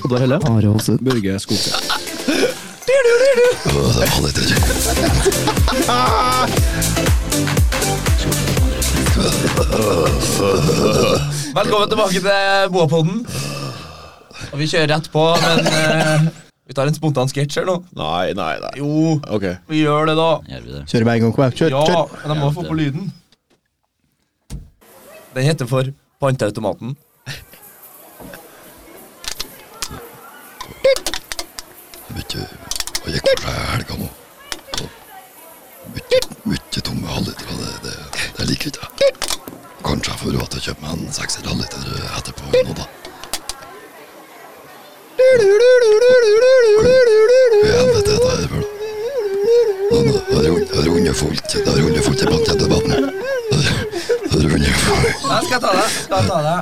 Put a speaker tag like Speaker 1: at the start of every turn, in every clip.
Speaker 1: Oddvar Helle.
Speaker 2: Are Hoseth.
Speaker 3: Børge Skogsø.
Speaker 1: Velkommen tilbake til Boapodden. Og vi kjører rett på, men eh, vi tar en spontan sketsj her nå.
Speaker 4: Nei, nei, nei.
Speaker 1: Jo,
Speaker 4: Ok.
Speaker 1: vi gjør det, da.
Speaker 5: Gjør vi det?
Speaker 2: Kjører med en gang. Kjør,
Speaker 1: Ja,
Speaker 2: kjør.
Speaker 1: men jeg må få på lyden. Den heter for Panteautomaten.
Speaker 6: Mye Og jeg går fra helga nå. Og Mye, mye tomme halvlitere. Det, det, det liker jeg ikke. Kanskje jeg får råd til å kjøpe meg en sekser halvliter etterpå. Nå, da. Hvor i Helvete, det er vel Nå, nå, Det er rund- det er runde fullt. Det er runde fullt i patentdebatten. Det er- det er runde fullt.
Speaker 1: Nei, skal jeg ta det? Skal jeg ta det?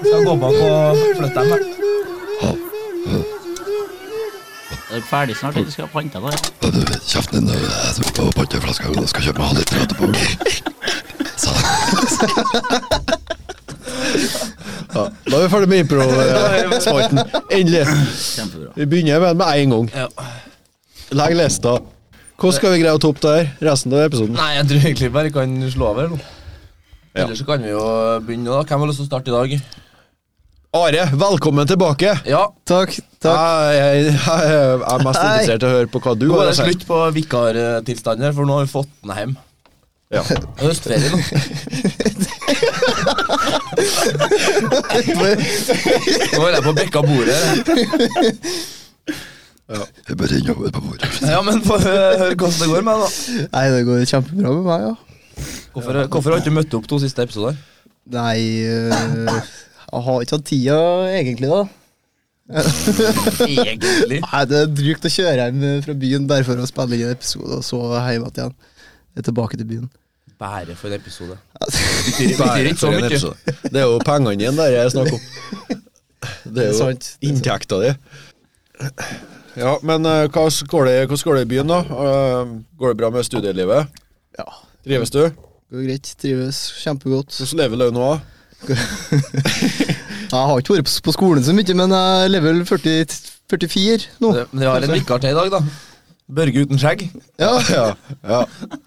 Speaker 1: Skal jeg gå bak og flytte dem? her?
Speaker 5: Er det ferdig snart? eller skal ha panta da? ja?
Speaker 6: Ja, du, Kjeften din. Jeg jeg tok på panteflaska og skal kjøpe meg halvliter etterpå. Så.
Speaker 4: Ja, da er vi ferdig med impro-spalten. Endelig.
Speaker 5: Kjempebra.
Speaker 4: Vi begynner vel med en gang.
Speaker 1: Ja.
Speaker 4: Legg lista. Hvordan skal vi greie å toppe det her resten av episoden?
Speaker 1: Nei, jeg tror egentlig bare jeg kan slå over nå.
Speaker 4: Ja.
Speaker 1: Ellers så kan vi jo begynne nå. da. Hvem har lyst til å starte i dag?
Speaker 4: Are, velkommen tilbake.
Speaker 1: Ja,
Speaker 2: Takk. takk.
Speaker 4: Jeg, jeg, jeg, jeg er mest interessert i å høre på hva du
Speaker 1: Nå
Speaker 4: har
Speaker 1: er
Speaker 4: å
Speaker 1: det
Speaker 4: si.
Speaker 1: slutt på vikartilstanden her, for nå har vi fått den hjem.
Speaker 4: Ja.
Speaker 1: Det er Høstferie nå. Nå holder jeg på å bekke av bordet. her.
Speaker 6: Jeg bare renner over på bordet.
Speaker 1: Ja, men få hø- høre hvordan det går med deg, da.
Speaker 2: Nei, det går kjempebra med meg, ja.
Speaker 1: Hvorfor, hvorfor har du ikke møtt opp to siste episoder?
Speaker 2: Nei øh, Jeg har ikke hatt tida, egentlig, da.
Speaker 1: Egentlig.
Speaker 2: Nei, Det er drygt å kjøre hjem øh, fra byen bare for å spille inn en episode, og så hjem igjen. Jeg er tilbake til byen.
Speaker 1: Bære for en episode.
Speaker 4: Det
Speaker 1: betyr ikke så mye.
Speaker 4: er jo pengene igjen der jeg snakker om. Det er
Speaker 2: Det er
Speaker 4: jo
Speaker 2: sant.
Speaker 4: inntekta di. Ja, men eh, hva s- går det, hvordan går det i byen, da? Eh, går det bra med studielivet?
Speaker 2: Ja.
Speaker 4: Trives du?
Speaker 2: Går greit. Trives kjempegodt.
Speaker 4: Hvordan lever lønna?
Speaker 2: Jeg har ikke vært på- på skolen så mye, men jeg er level 40, 44 nå.
Speaker 1: Det- Men vi har en vikar til i dag, da. Børge uten skjegg.
Speaker 2: Ja,
Speaker 4: Ja, ja.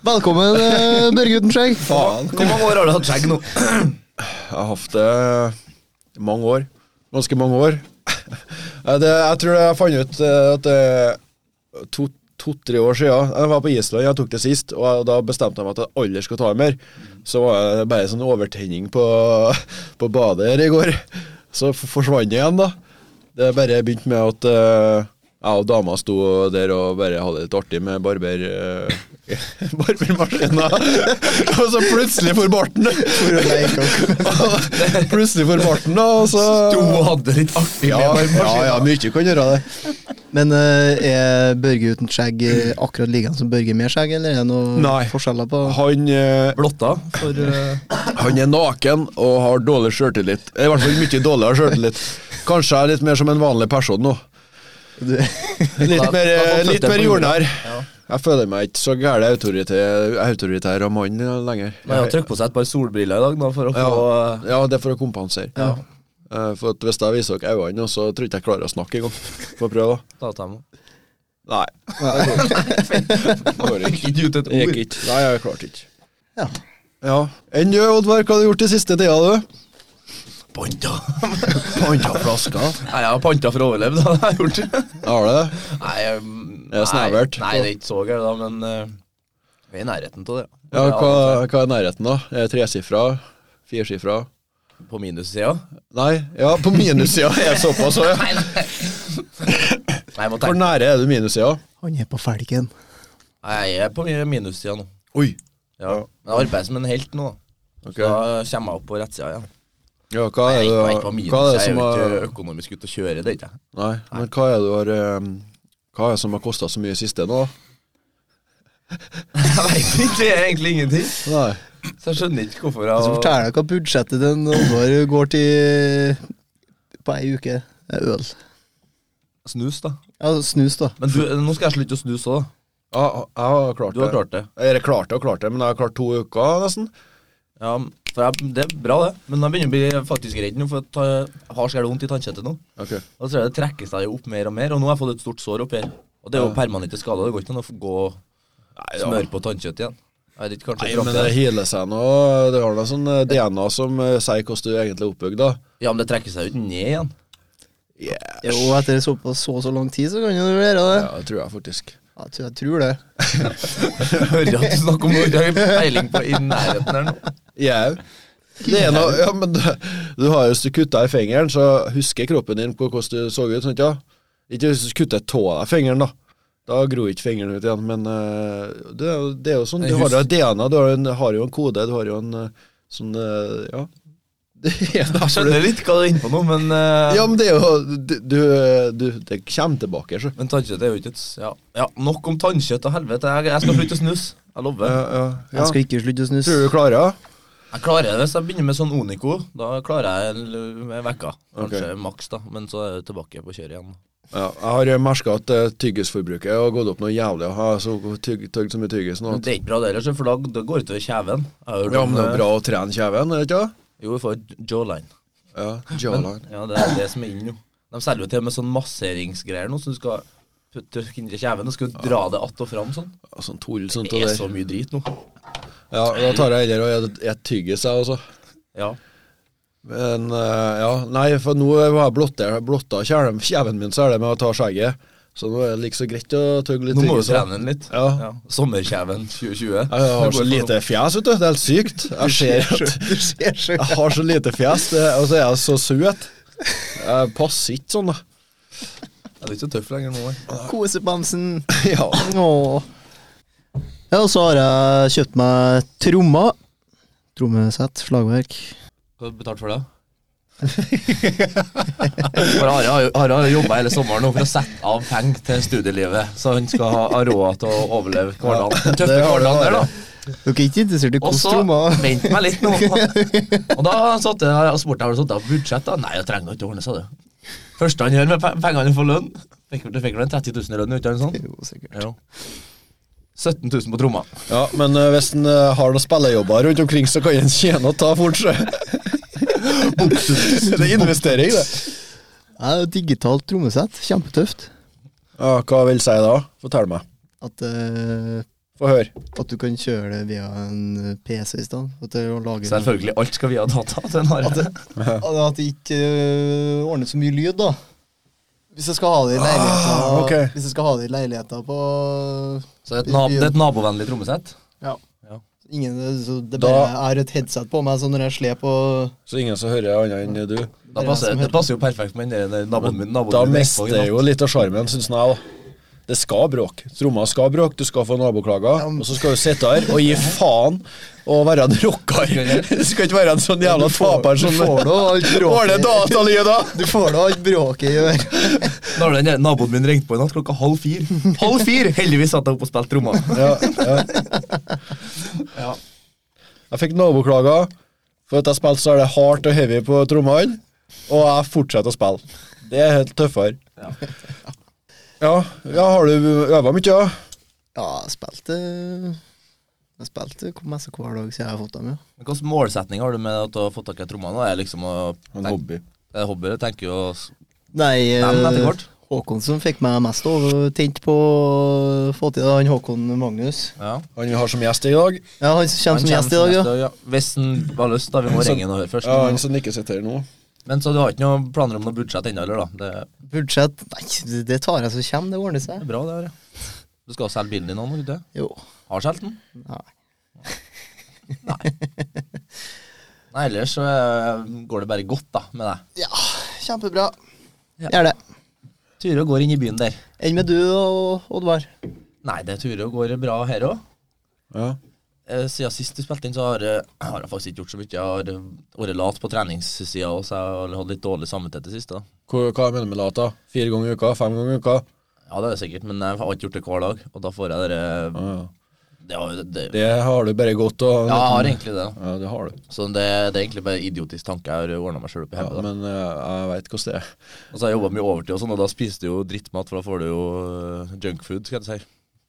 Speaker 2: Velkommen, eh, Børge uten skjegg.
Speaker 4: Faen.
Speaker 1: Hvor mange år har du hatt skjegg nå?
Speaker 4: Jeg har hatt det i mange år. Ganske mange år. Eh, Det, jeg tror jeg fant ut eh, at det er to- to-tre år siden jeg var på Island, jeg tok det sist, og jeg- da bestemte jeg meg at jeg aldri skulle ta det mer. Så var det bare sånn overtenning på, på badet her i går. Så f- forsvant det igjen, da. Det bare begynte med at eh, jeg og dama sto der og bare hadde det litt artig med barber... eh, barbermaskina. og så plutselig for barten! Plutselig for barten, da. Og så
Speaker 1: Du hadde litt artig
Speaker 4: ja,
Speaker 1: med
Speaker 4: ja, ja,
Speaker 1: barbermaskinen.
Speaker 4: mye kan gjøre det.
Speaker 2: Men eh, er Børge uten skjegg eh, akkurat like som Børge med skjegg, eller er det noen
Speaker 4: Nei.
Speaker 2: forskjeller på
Speaker 4: Han, eh,
Speaker 1: Blotta for eh,
Speaker 4: han er naken og har dårlig sjøltillit. I hvert fall mye dårligere sjøltillit. Kanskje jeg er litt mer som en vanlig person nå.
Speaker 2: du,
Speaker 4: Litt mer, eh, litt mer jordnær.
Speaker 1: Ja.
Speaker 4: Jeg føler meg ikke så gæren autoritær, autoritær av mann lenger.
Speaker 1: Nei, Han trykk på seg et par solbriller i dag da, for å
Speaker 4: Ja,
Speaker 1: få eh,
Speaker 4: ja, det er for å kompensere. Eh, For at Hvis jeg viser dere øynene, nå, så tror jeg ikke jeg klarer å snakke engang. Få prøve, da.
Speaker 1: dataen.
Speaker 4: Nei. Det går ikke.
Speaker 1: Ikke ut
Speaker 4: Det
Speaker 1: et ord.
Speaker 4: gikk ikke. Nei, jeg klarte ikke.
Speaker 2: Ja.
Speaker 4: Ja. Enn du, Oddvar, hva har du gjort i siste tida, du?
Speaker 1: Panta.
Speaker 4: Panta flaska.
Speaker 1: Nei, jeg har panta for å overleve, da. Det har jeg gjort.
Speaker 4: Har du det?
Speaker 1: Nei, um,
Speaker 4: Er det snevert?
Speaker 1: Nei, nei, det er ikke så gærent, da, men eh, vi er i nærheten av det.
Speaker 4: Ja, hva, hva er nærheten, da? Er det Tresifra? Firesifra?
Speaker 1: På minussida.
Speaker 4: Nei, ja, på minussida er det såpass òg, ja.
Speaker 1: Nei, nei. Nei, jeg må
Speaker 4: Hvor
Speaker 1: tenke.
Speaker 4: nære er du minussida?
Speaker 2: Han er på felgen.
Speaker 1: Nei, jeg er på mi- minussida nå.
Speaker 4: Oi.
Speaker 1: Ja. Men jeg arbeider som en helt nå. da.
Speaker 4: Ok.
Speaker 1: Så da kommer jeg opp på rettsida igjen.
Speaker 4: Ja, hva
Speaker 1: Nei,
Speaker 4: er det,
Speaker 1: jeg er ikke- jeg er ikke
Speaker 4: du-
Speaker 1: på
Speaker 4: hva er
Speaker 1: minus,
Speaker 4: det
Speaker 1: jeg er
Speaker 4: som
Speaker 1: jo
Speaker 4: har
Speaker 1: ikke økonomisk ute å kjøre, det er ikke jeg.
Speaker 4: Nei, men hva er det du har eh, Hva er det som har kosta så mye siste nå?
Speaker 1: Jeg vet ikke, det er egentlig ingenting.
Speaker 4: Nei.
Speaker 1: Så jeg skjønner ikke hvorfor
Speaker 2: Så
Speaker 1: jeg
Speaker 2: forteller jeg hva budsjettet den Oddvar går til på ei uke. Det er øl.
Speaker 1: snus, da.
Speaker 2: Ja, snus, da.
Speaker 1: Men du, nå skal jeg slutte å snuse òg, da.
Speaker 4: Ja, jeg har klart
Speaker 1: Du har
Speaker 4: det.
Speaker 1: klart det.
Speaker 4: Jeg har klart det og klart det, men jeg har klart to uker nesten.
Speaker 1: Ja, men For jeg, det er bra, det. Men jeg begynner å bli faktisk redd nå, for at jeg har så jævlig vondt i tannkjøttet nå.
Speaker 4: Ok.
Speaker 1: Og så er det trekker seg jo opp mer og mer, og nå har jeg fått et stort sår opp her. Og det er jo permanente skader. Det går ikke an å få gå og smøre på tannkjøtt igjen. Jeg vet ikke, kanskje
Speaker 4: Nei,
Speaker 1: fram
Speaker 4: men
Speaker 1: til
Speaker 4: det
Speaker 1: det.
Speaker 4: healer seg nå. Det har da sånn eh, DNA som eh, sier hvordan du egentlig er oppbygd, da.
Speaker 1: Ja, men det trekker seg jo ikke ned igjen.
Speaker 2: Jo, etter såpass så så lang tid, så kan jo du gjøre det.
Speaker 4: Ja, det tror jeg faktisk.
Speaker 2: Ja, jeg tror- jeg tror det.
Speaker 1: Jeg hører at du snakker om noe du har ikke peiling på i nærheten her nå.
Speaker 4: Jau. Det er noe, ja, men du, du har jo, hvis du kutter i fingeren, så husker kroppen din på hvordan du så ut. Sant, ja? Ikke hvis du kutter tåa av fingeren, da. Da gror ikke fingeren ut igjen. Men eh, det, er jo- det er jo sånn. Du
Speaker 1: Jeg
Speaker 4: har jo
Speaker 1: husker-
Speaker 4: et DNA, du har, jo en, har jo en kode, du har jo en eh, sånn eh, Ja. Det er derfor
Speaker 1: Jeg skjønner litt hva du er inne på nå, men,
Speaker 4: du-
Speaker 1: eh,
Speaker 4: Ja, men det er jo du, du, du, Det kommer tilbake, så.
Speaker 1: men tannkjøtt er jo ikke et s- ja. ja, nok om tannkjøtt og helvete. Jeg, jeg skal slutte å snuse. Jeg lover.
Speaker 4: Ja, ja,
Speaker 2: Jeg
Speaker 4: ja.
Speaker 2: skal ikke slutte å snuse.
Speaker 4: Tror du du klarer det?
Speaker 1: Jeg klarer det hvis jeg begynner med sånn Onico. Da klarer jeg l- med vekka. Kanskje
Speaker 4: Ok.
Speaker 1: maks, da. Men så er jeg tilbake på kjøret igjen.
Speaker 4: Ja, jeg har merka at eh, tyggisforbruket har gått opp noe jævlig. Jeg har så tygg, tygg så mye tyggis nå. At,
Speaker 1: Men det er ikke bra det heller, så, for da, da går det utover kjeven. Jeg har hørt
Speaker 4: ja,
Speaker 1: om,
Speaker 4: men det
Speaker 1: eh,
Speaker 4: er bra å trene kjeven, er det ikke det?
Speaker 1: Jo, vi får jawline.
Speaker 4: Ja,
Speaker 1: Men,
Speaker 4: jawline.
Speaker 1: ja, det er det som er inne nå. De selger jo til med sånn masseringsgreier nå, som du skal putte inni kjeven og skal du dra det att og fram sånn.
Speaker 4: Ja, sånn tull sånt
Speaker 1: Det
Speaker 4: og
Speaker 1: er
Speaker 4: der.
Speaker 1: så mye drit nå.
Speaker 4: Ja, da tar jeg heller og jeg, jeg tyggis, jeg også.
Speaker 1: Ja.
Speaker 4: Men eh, ja, nei, for nå har jeg blotta, blotta kjelen- kjeven min, så er det med å ta skjegget. Så nå er det like så greit å tygge litt
Speaker 1: Nå må du
Speaker 4: tyggis, da.
Speaker 1: trene den litt.
Speaker 4: Ja.
Speaker 1: Sommerkjeven 2020.
Speaker 4: Jeg har så lite fjes, vet du. Det er helt sykt. Jeg ser at
Speaker 2: Du ser så
Speaker 4: Jeg har så lite fjes, det, og så er jeg så søt. Jeg passer ikke sånn, da.
Speaker 1: Jeg er ikke så tøff lenger nå. jeg.
Speaker 2: Kosebamsen.
Speaker 4: Ja.
Speaker 2: Åh. Ja, og så har jeg kjøpt meg trommer. Trommesett, slagverk.
Speaker 1: Hva har du betalt for det? For Are har jo- Are har jobba hele sommeren nå for å sette av penger til studielivet, så han skal ha- ha råd til å overleve hverdagen. Den tøffe
Speaker 4: det har du,
Speaker 1: hverdagen der, da.
Speaker 4: Are.
Speaker 2: Dere er ikke interessert i
Speaker 1: Og så
Speaker 2: hvordan trommer?
Speaker 1: Vent meg litt nå. Og da satt jeg og spurte om jeg satt av budsjett. da. Nei, jeg trenger ikke å ordne seg det. Første han gjør med pe- pengene han får lønn Fikk du fikk vel en 30 000 i lønn uten sånn?
Speaker 2: Jo, sikkert.
Speaker 1: Jo. 17 000 på tromma.
Speaker 4: ja, men eh, hvis en eh, har noen spillejobber rundt omkring, så kan en tjene og ta fort. så. det er investering, det.
Speaker 2: Ja, det er digitalt trommesett. Kjempetøft.
Speaker 4: Ja, hva vil si da? Fortell meg.
Speaker 2: At, eh,
Speaker 4: Få høre.
Speaker 2: at du kan kjøre det via en PC i stedet. At det, å lage
Speaker 1: Selvfølgelig, alt skal via data. Den har jeg.
Speaker 2: Ja, At det ikke øh, ordner så mye lyd, da. Hvis jeg skal ha det i leiligheter
Speaker 4: Ah, ok.
Speaker 2: Hvis jeg skal ha det i leiligheter på
Speaker 1: Så det er et, nab det er et nabovennlig trommesett.
Speaker 2: Ja.
Speaker 1: Ja.
Speaker 2: Ingen, så det
Speaker 4: Da-
Speaker 2: bare er et headset på meg, så når jeg slår på
Speaker 4: Så ingen som hører annet enn du.
Speaker 1: Da passer, det passer jo perfekt med den der naboen min. Naboen
Speaker 4: Da
Speaker 1: min
Speaker 4: mister
Speaker 1: ikke
Speaker 4: jeg
Speaker 1: sant?
Speaker 4: jo litt av sjarmen, syns jeg. da. Det skal bråke. Tromma skal bråke, du skal få naboklager. Og så skal du sitte her og gi faen og være en rocker. Du skal ikke være en sånn jævla taper som
Speaker 2: får nå alt
Speaker 4: Ordne
Speaker 2: bråket
Speaker 4: datalyder!
Speaker 2: Du får nå alt bråket i øret.
Speaker 1: Da har den der naboen min ringt på i natt klokka halv fire. Halv fire! Heldigvis satt jeg oppe og spilte tromma.
Speaker 4: Ja, ja. Jeg fikk naboklager for at jeg spilte så er det hardt og heavy på trommene, og jeg fortsetter å spille. Det er helt tøffere.
Speaker 1: Ja.
Speaker 4: Ja, ja har du øva mye? Ja?
Speaker 2: Ja, jeg spilte Jeg spilte hvor mest hver dag siden jeg har fått dem, ja.
Speaker 1: Men Hvilken målsetning har du med at du har fått tak i tromma nå? Er det liksom å
Speaker 4: En hobby.
Speaker 1: Det er hobby, jeg tenker jo å s-
Speaker 2: Nei,
Speaker 1: Nei, men etter
Speaker 2: eh,
Speaker 1: hvert.
Speaker 2: Håkon som fikk meg mest over- tent på å få til det, han Håkon Magnus.
Speaker 1: Ja.
Speaker 4: Han vi har som gjest i dag.
Speaker 2: Ja, han som kommer som gjest i dag, ja.
Speaker 1: Hvis han har lyst, da. Vi må
Speaker 4: Så-
Speaker 1: ringe han og høre først.
Speaker 4: Ja, han som ikke sitter her nå.
Speaker 1: Men så du har ikke noen planer om noe budsjett ennå, eller? da? Det
Speaker 2: Budsjett Nei, det- det tar jeg som kommer, det ordner
Speaker 1: er
Speaker 2: seg.
Speaker 1: bra, det her. ja. Du skal jo selge bilen din nå, må du ikke? det?
Speaker 2: Jo.
Speaker 1: Har solgt den?
Speaker 2: Nei.
Speaker 1: Nei, ellers så eh, går det bare godt, da, med deg.
Speaker 2: Ja, kjempebra.
Speaker 1: Ja.
Speaker 2: Gjør det.
Speaker 1: Tyrø går inn i byen der.
Speaker 2: Enn med du og Oddvar?
Speaker 1: Nei, det Tyrø går bra her òg.
Speaker 4: Ja.
Speaker 1: Eh, Siden sist du spilte inn, så har, eh, har jeg faktisk ikke gjort så mye. Jeg har eh, vært lat på treningssida, og så jeg har hatt litt dårlig samvittighet i det siste. da.
Speaker 4: Hva, hva mener du med lata? Fire ganger i uka? Fem ganger i uka?
Speaker 1: Ja, det er det sikkert, men jeg har ikke gjort det hver dag, og da får jeg dere
Speaker 4: Ja.
Speaker 1: det, har- det, det,
Speaker 4: Det har du bare godt og
Speaker 1: Ja, jeg har egentlig det. da.
Speaker 4: Ja, det har du.
Speaker 1: Så det, det er egentlig bare idiotisk tanke jeg har ordna meg sjøl opp i
Speaker 4: Ja,
Speaker 1: hodet.
Speaker 4: men eh, jeg veit hvordan det er.
Speaker 1: Og så har jeg jobba mye overtid, og sånn, og da spiser du jo drittmat, for da får du jo øh, junkfood, eh, skal jeg si.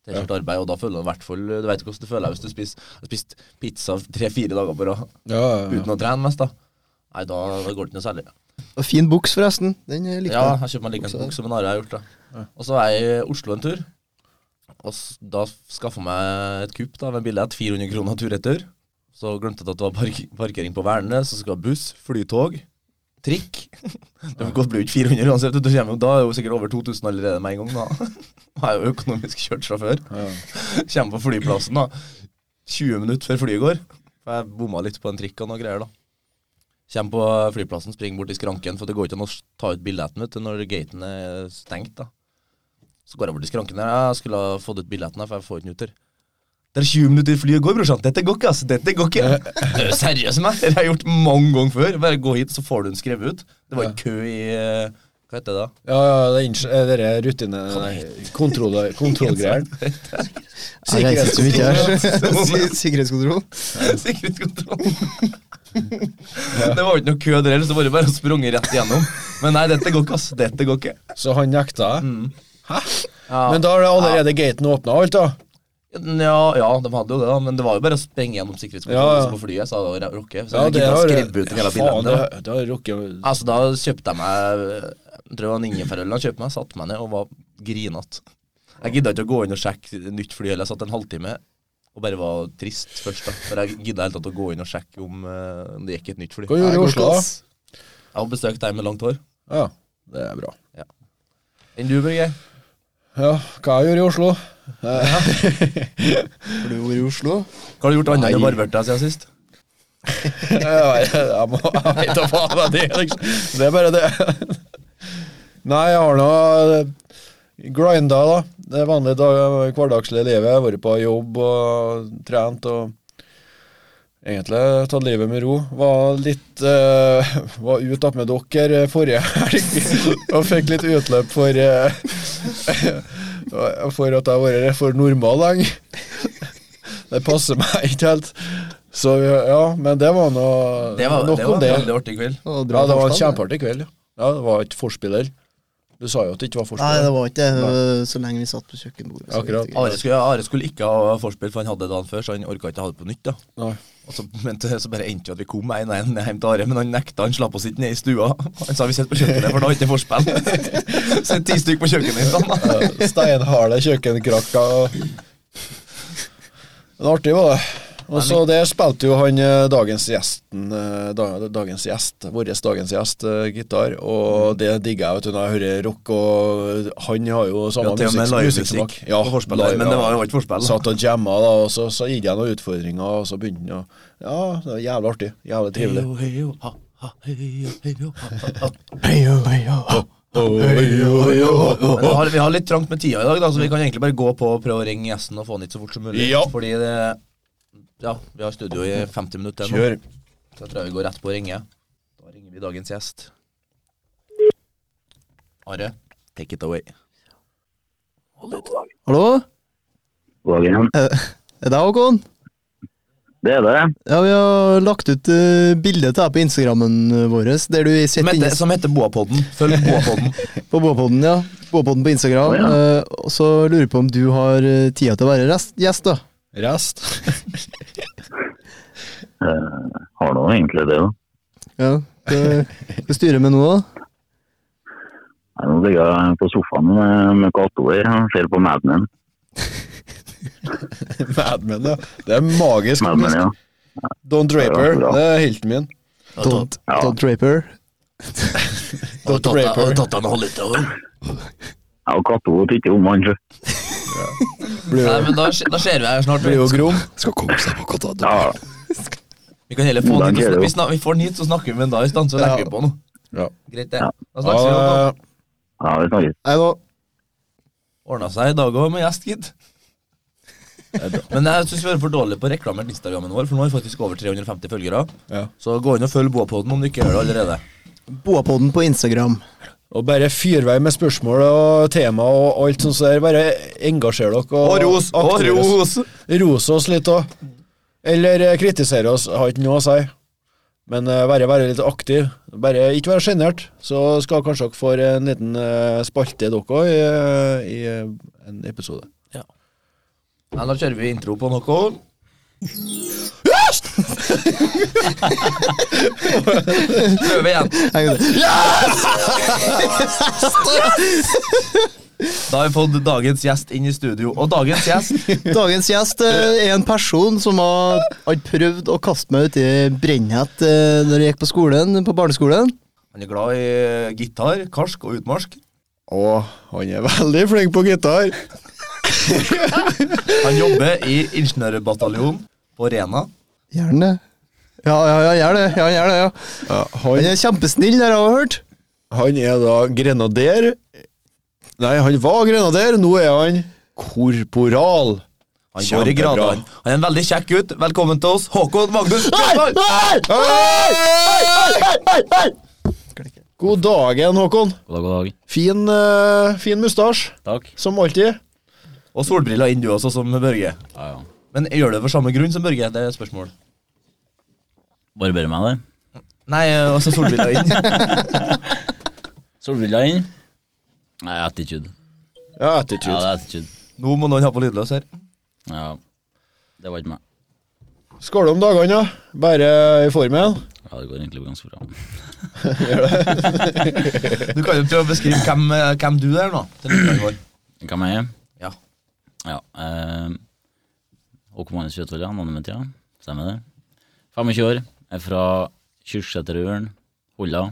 Speaker 1: Det er hardt arbeid, og da føler du i hvert fall Du vet hvordan du føler deg hvis du spiser, har spist pizza tre-fire dager på rad
Speaker 4: Ja, ja,
Speaker 1: uten å trene mest, da. Nei, da, da går det ikke noe særlig.
Speaker 2: Og fin buks, forresten. Den eh, likte
Speaker 1: Ja,
Speaker 2: jeg.
Speaker 1: jeg kjøper meg like en bukse som en Are har gjort. da Og så var jeg i Oslo en tur, og s- da skaffa jeg meg et kupp da med en billett. 400 kroner tur-retur. Så glemte jeg at det var park parkering på Værnes, så skulle jeg ha buss, flytog, trikk. Du går brukt 400 uansett, du kommer, jo- da er det jo sikkert over 2000 allerede med en gang. da Jeg er jo økonomisk kjørt fra før.
Speaker 4: ja.
Speaker 1: Kommer på flyplassen da 20 minutter før flyet går. For jeg bomma litt på en trikk og noe greier, da. Kjem på flyplassen, springer bort i skranken, for det går ikke an å ta ut billetten vet du, når gaten er stengt. da. Så går jeg bort i skranken der. Jeg skulle ha fått ut billetten, her, for jeg får ikke den ut der. Det er 20 minutter i flyet går, brorsan. Dette går ikke, ass. Dette går ikke. Det er jo seriøst, meg. Det har jeg gjort mange ganger før. Bare gå hit, så får du den skrevet ut. Det var en kø i eh, Hva heter det da?
Speaker 4: ja, ja det er inns- eh, dere rutine... Nei, kontroll- kontrollgreier.
Speaker 2: Jeg reiser så mye her.
Speaker 1: Sikkerhetskontroll.
Speaker 2: Sikkerhetskontroll.
Speaker 1: Sikkerhetskontrollen. det var jo ikke noe kø der heller, så var det bare å sprunge rett igjennom. Men nei, dette går ikke, ass. Dette går ikke.
Speaker 4: Så han nekta. Hæ?
Speaker 1: Ja.
Speaker 4: Men da har det allerede gaten åpna og alt, da?
Speaker 1: Ja, ja, de hadde jo det, da, men det var jo bare å sprenge gjennom sikkerhetskontrollen liksom,
Speaker 4: Ja, ja.
Speaker 1: på flyet. Så da rocke. Så
Speaker 4: Ja,
Speaker 1: jeg
Speaker 4: det
Speaker 1: gidder å
Speaker 4: har
Speaker 1: skrive ut den jævla
Speaker 4: Faen,
Speaker 1: billetten
Speaker 4: det
Speaker 1: der.
Speaker 4: har- det har rukket
Speaker 1: Altså, da kjøpte jeg meg Jeg tror det var en ingefærøl han kjøpte meg, satte meg ned og var grinete. Jeg gidda ikke å gå inn og sjekke nytt fly heller. Jeg satt en halvtime og bare var trist først, da. For jeg gidda i det hele tatt å gå inn og sjekke om, eh, om det gikk et nytt fly.
Speaker 4: Hva gjorde du i Oslo, da?
Speaker 1: Jeg har besøkt deg med langt hår.
Speaker 4: Ja, det er bra.
Speaker 1: Enn du, Børge?
Speaker 4: Ja, hva jeg gjorde i Oslo?
Speaker 2: Har du vært i Oslo?
Speaker 1: Hva har du gjort annet enn å
Speaker 4: Nei.
Speaker 1: barbere deg siden sist?
Speaker 4: Jeg, jeg, jeg, må, jeg vet da faen hva det er, liksom. Det er bare det. Nei, jeg har nå eh, grinda, da. Det vanlige dag, hverdagslige livet. Jeg har vært på jobb og trent og Egentlig tatt livet med ro. Var litt uh, Var ute opp med dere forrige helg og fikk litt utløp for eh, For at jeg har vært for normal lenge. Det passer meg ikke helt. Så ja, men det var nå
Speaker 1: Det var,
Speaker 4: nok
Speaker 1: det var
Speaker 4: om
Speaker 1: en
Speaker 4: det.
Speaker 1: veldig artig kveld.
Speaker 2: Og
Speaker 4: Ja, det var
Speaker 2: bra
Speaker 4: en
Speaker 2: forstand, det.
Speaker 4: kjempeartig kveld. Ja. ja, det var et forspill der. Du sa jo at det ikke var forspill.
Speaker 2: Nei, det var ikke det.
Speaker 4: Nei.
Speaker 2: øh, Så lenge vi satt på kjøkkenbordet. så
Speaker 4: Akkurat.
Speaker 2: gikk det greit.
Speaker 1: Are skulle, Are skulle ikke ha forspill, for han hadde det dagen før, så han orka ikke ha det på nytt. da.
Speaker 4: Nei.
Speaker 1: Og så, men, det- så bare endte jo at vi kom 1-1 hjem til Are, men han nekta. Han slapp oss ikke ned i stua. Han sa vi sitter på kjøkkenet, for da har ikke forspill. Så ti stykk på kjøkkenet i stedet.
Speaker 4: Ja, Steinharde kjøkkenkrakker. og- Men artig var det. Og så der spilte jo han eh, dagens gjesten, eh, da- dagens gjest, vår dagens gjest, eh, gitar. Og det digger jeg, vet du, når jeg hører rock, og eh, han har jo
Speaker 1: Ja,
Speaker 4: samme
Speaker 1: til og med
Speaker 4: musikk- musikksmak.
Speaker 1: livemusikk
Speaker 4: Ja,
Speaker 1: på forspill, der, men det var jo ikke forspill. da.
Speaker 4: Satt og jamma, da, og så, så gikk jeg noen utfordringer, og så begynte han å Ja, det var jævlig artig. Jævlig trivelig.
Speaker 1: Heio, heio, ha, ha, heio, heio, ha, ha, ha. Men vi har, vi har litt trangt med tida i dag, da, så vi kan egentlig bare gå på og prøve å ringe gjesten og få han hit så fort som mulig.
Speaker 4: Ja.
Speaker 1: Fordi det Ja, vi har studio i 50 minutter nå.
Speaker 4: Kjør.
Speaker 1: Så jeg tror jeg vi går rett på å ringe. Da ringer vi dagens gjest. Are, take it away.
Speaker 2: Hallo?
Speaker 3: Og igjen.
Speaker 2: Eh, Er det Håkon?
Speaker 3: Det er det.
Speaker 2: Ja, vi har lagt ut uh, bilde til deg på Instagrammen eh, vår, der du
Speaker 1: Som
Speaker 2: sitter inne
Speaker 1: heter, som heter Boapodden. Følg Boapodden.
Speaker 2: på Båpodden, ja. Båpodden på Instagram.
Speaker 3: Å, ja.
Speaker 2: eh, og så lurer jeg på om du har eh, tida til å være rest, gjest, da.
Speaker 4: Rest.
Speaker 3: Eh, har nå egentlig det, da.
Speaker 2: Ja. Hva hva styrer vi med nå, da?
Speaker 3: Nei, Nå ligger jeg på sofaen med, med Cato her og ser på Mad Men.
Speaker 4: Mad Men, ja. Det er magisk.
Speaker 3: Mad Men, ja.
Speaker 4: Don Draper,
Speaker 3: Det var bra.
Speaker 4: det er helten min.
Speaker 2: Don,
Speaker 3: Ja.
Speaker 2: Don Draper.
Speaker 4: Don Draper
Speaker 1: tatt han og holdt litt over.
Speaker 3: Jeg og Cato vet ikke om han sjø.
Speaker 4: blir jo,
Speaker 1: Nei, men da, sk- da ser vi her snart.
Speaker 4: blir jo grom.
Speaker 6: Skal komme seg på katta.
Speaker 3: Ja,
Speaker 1: Vi kan heller få han
Speaker 3: Hvordan
Speaker 1: hit.
Speaker 3: er
Speaker 1: og sn-
Speaker 3: det jo?
Speaker 1: Vi, snak, vi får han hit, så snakker vi med han da i stand, så
Speaker 4: Ja.
Speaker 1: legger vi på nå.
Speaker 4: Ja.
Speaker 1: Greit, det.
Speaker 3: Ja.
Speaker 1: Da snakkes vi.
Speaker 4: Ja,
Speaker 1: Håkon.
Speaker 3: ja, vi snakkes.
Speaker 2: Nei da.
Speaker 1: Ordna seg i dag òg med gjest, gitt. Men jeg syns vi er for dårlige på å reklamere Instagrammen vår, for nå har vi faktisk over 350 følgere.
Speaker 4: ja.
Speaker 1: Så gå inn og følg Boapodden om du ikke gjør det allerede.
Speaker 2: Båpodden på Instagram.
Speaker 4: Og bare fyrvei med spørsmål og tema og alt sånt der. Bare engasjer dere. Og, aktiver oss. Ros oss litt òg. Eller eh, kritisere oss. Har ikke noe å si. Men eh, være, være litt aktiv. Bare ikke være sjenert. Så skal kanskje dere få en liten eh, spalte dere òg i, eh, i eh, en episode.
Speaker 1: Nei, da kjører vi intro på noe. Prøv igjen. Da har vi fått dagens gjest inn i studio. Og dagens gjest
Speaker 2: Dagens gjest eh, er en person som har, har prøvd å kaste meg uti brennhett eh, når jeg gikk på skolen, på barneskolen.
Speaker 1: Han er glad i gitar, karsk og utmarsk.
Speaker 4: Og han er veldig flink på gitar.
Speaker 1: Han jobber i ingeniørbataljon på Rena.
Speaker 2: Gjør han det? Ja, ja, ja, gjør det. Ja, gjør det, ja.
Speaker 4: Ja,
Speaker 2: Han
Speaker 4: han,
Speaker 2: er kjempesnill, det har jeg hørt.
Speaker 4: han er da grenader. Nei, han var grenader, nå er han korporal.
Speaker 1: Han går i
Speaker 4: Kjempebra.
Speaker 1: gradene. Han er en veldig kjekk gutt. Velkommen til oss, Håkon Magnus Bjørnberg.
Speaker 4: God dagen, Håkon.
Speaker 5: God dag, god dag.
Speaker 4: Fin, uh, fin mustasj,
Speaker 5: Takk.
Speaker 4: som alltid.
Speaker 1: Og solbriller inn du også, som Børge.
Speaker 5: Ja, ja.
Speaker 1: Men gjør du det for samme grunn som Børge? Det er spørsmål.
Speaker 5: Barberer meg der.
Speaker 1: Nei, altså solbriller inn.
Speaker 5: Solbriller inn. Nei, attitude.
Speaker 4: Ja,
Speaker 5: Ja, det
Speaker 4: attitude.
Speaker 5: er attitude.
Speaker 1: Nå må noen ha på lydløs her.
Speaker 5: Ja. Det var ikke meg.
Speaker 4: Skål om dagene, ja. Bare i formen.
Speaker 5: Ja, det går egentlig ganske bra.
Speaker 1: Du kan jo prøve å beskrive hvem, eh, hvem du er, nå. Til lytterne våre.
Speaker 5: Hvem er jeg?
Speaker 1: Ja.
Speaker 5: Ja. Eh, Håkon Magnus Kjøtvold, ja. Navnet mitt, ja. Stemmer det. 25 år. Er fra Kyrksæterøren, Holla.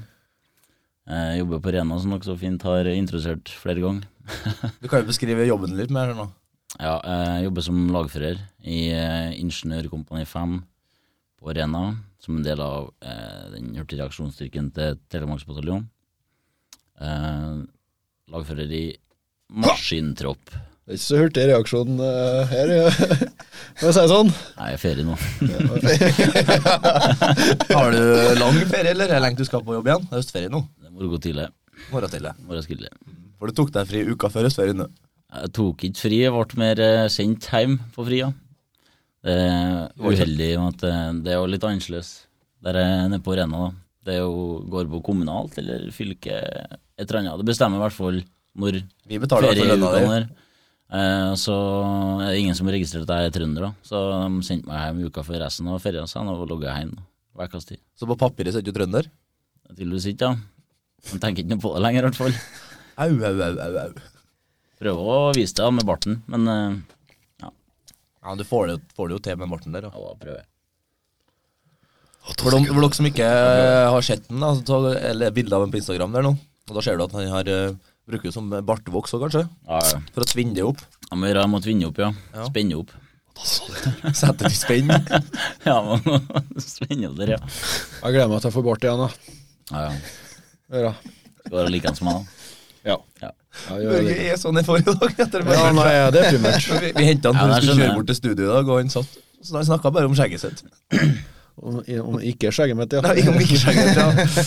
Speaker 5: Eh, jobber på Rena, som dere så fint har introdusert flere ganger.
Speaker 1: Du kan jo beskrive jobben litt mer nå.
Speaker 5: Ja, jeg jobber som lagfører i eh, Ingeniørkompani 5 på Rena, som en del av eh, den hurtige reaksjonsstyrken til Telemarksbataljonen. Eh, lagfører i maskintropp.
Speaker 4: Det er ikke så hurtig reaksjon eh, her, ja. må jeg si det sånn.
Speaker 5: Nei, jeg er i ferie nå.
Speaker 1: Har du lang ferie, eller er det lenge du skal på jobb igjen? Det er høstferie nå.
Speaker 5: Det må du gå tidlig.
Speaker 1: Morgen til det.
Speaker 5: Morgen skulle jeg.
Speaker 1: For du tok deg fri uka før høstferien. nå.
Speaker 5: Jeg tok ikke fri, jeg ble mer eh, sendt hjem på fria. Det er uheldig at eh, det er jo litt annerledes der jeg er nede på Rena. da. Det er jo, går på kommunalt eller fylke, et eller annet. Det bestemmer i hvert fall når
Speaker 1: Vi betaler for lønna
Speaker 5: ferieukene
Speaker 1: di.
Speaker 5: er. Eh, Så er det ingen som registrerer at jeg er trønder, da. Så de sendte meg hjem uka før resten av ferien sin og logga hjem da, hver ukas tid.
Speaker 1: Så på papiret så er du trønder.
Speaker 5: Det er Tydeligvis ikke, da. De tenker ikke noe på det lenger, i hvert fall.
Speaker 1: Au, au, au, au. au.
Speaker 5: Prøver å vise det da, med barten, men eh,
Speaker 1: Ja, men Du får det, får det jo til med Morten der. Ja.
Speaker 5: ja, da prøver jeg.
Speaker 1: For, de, for dere som ikke eh, har sett den, da, så, eller bilde av en på Instagram der nå, og da ser du at han har eh, bruker det som bartevoks òg, kanskje.
Speaker 5: Ja, ja.
Speaker 1: For å svinne det opp.
Speaker 5: Jeg må gjøre, jeg måtte vinne opp, ja.
Speaker 1: Ja.
Speaker 5: Spenne opp.
Speaker 1: Sette det i spenn.
Speaker 5: Ja, man må spenne opp der, ja.
Speaker 4: Jeg gleder meg til jeg får bart igjen, da.
Speaker 5: Ja, ja.
Speaker 4: Hør da.
Speaker 5: Skal være like som meg, da.
Speaker 4: Ja.
Speaker 5: Ja.
Speaker 4: Ja, gjør
Speaker 1: Børge
Speaker 4: det.
Speaker 1: er sånn i forrige dag. Etter
Speaker 4: ja, nei, jeg er deprimert.
Speaker 1: Vi, vi hentet han
Speaker 5: Ja, det
Speaker 1: når vi skulle
Speaker 5: skjønner
Speaker 1: kjøre
Speaker 5: jeg.
Speaker 1: bort til studio i dag, og han satt så han snakka bare om skjegget sitt.
Speaker 4: Om, om ikke skjegget mitt, ja.
Speaker 1: Nei, om ikke skjegget, ja.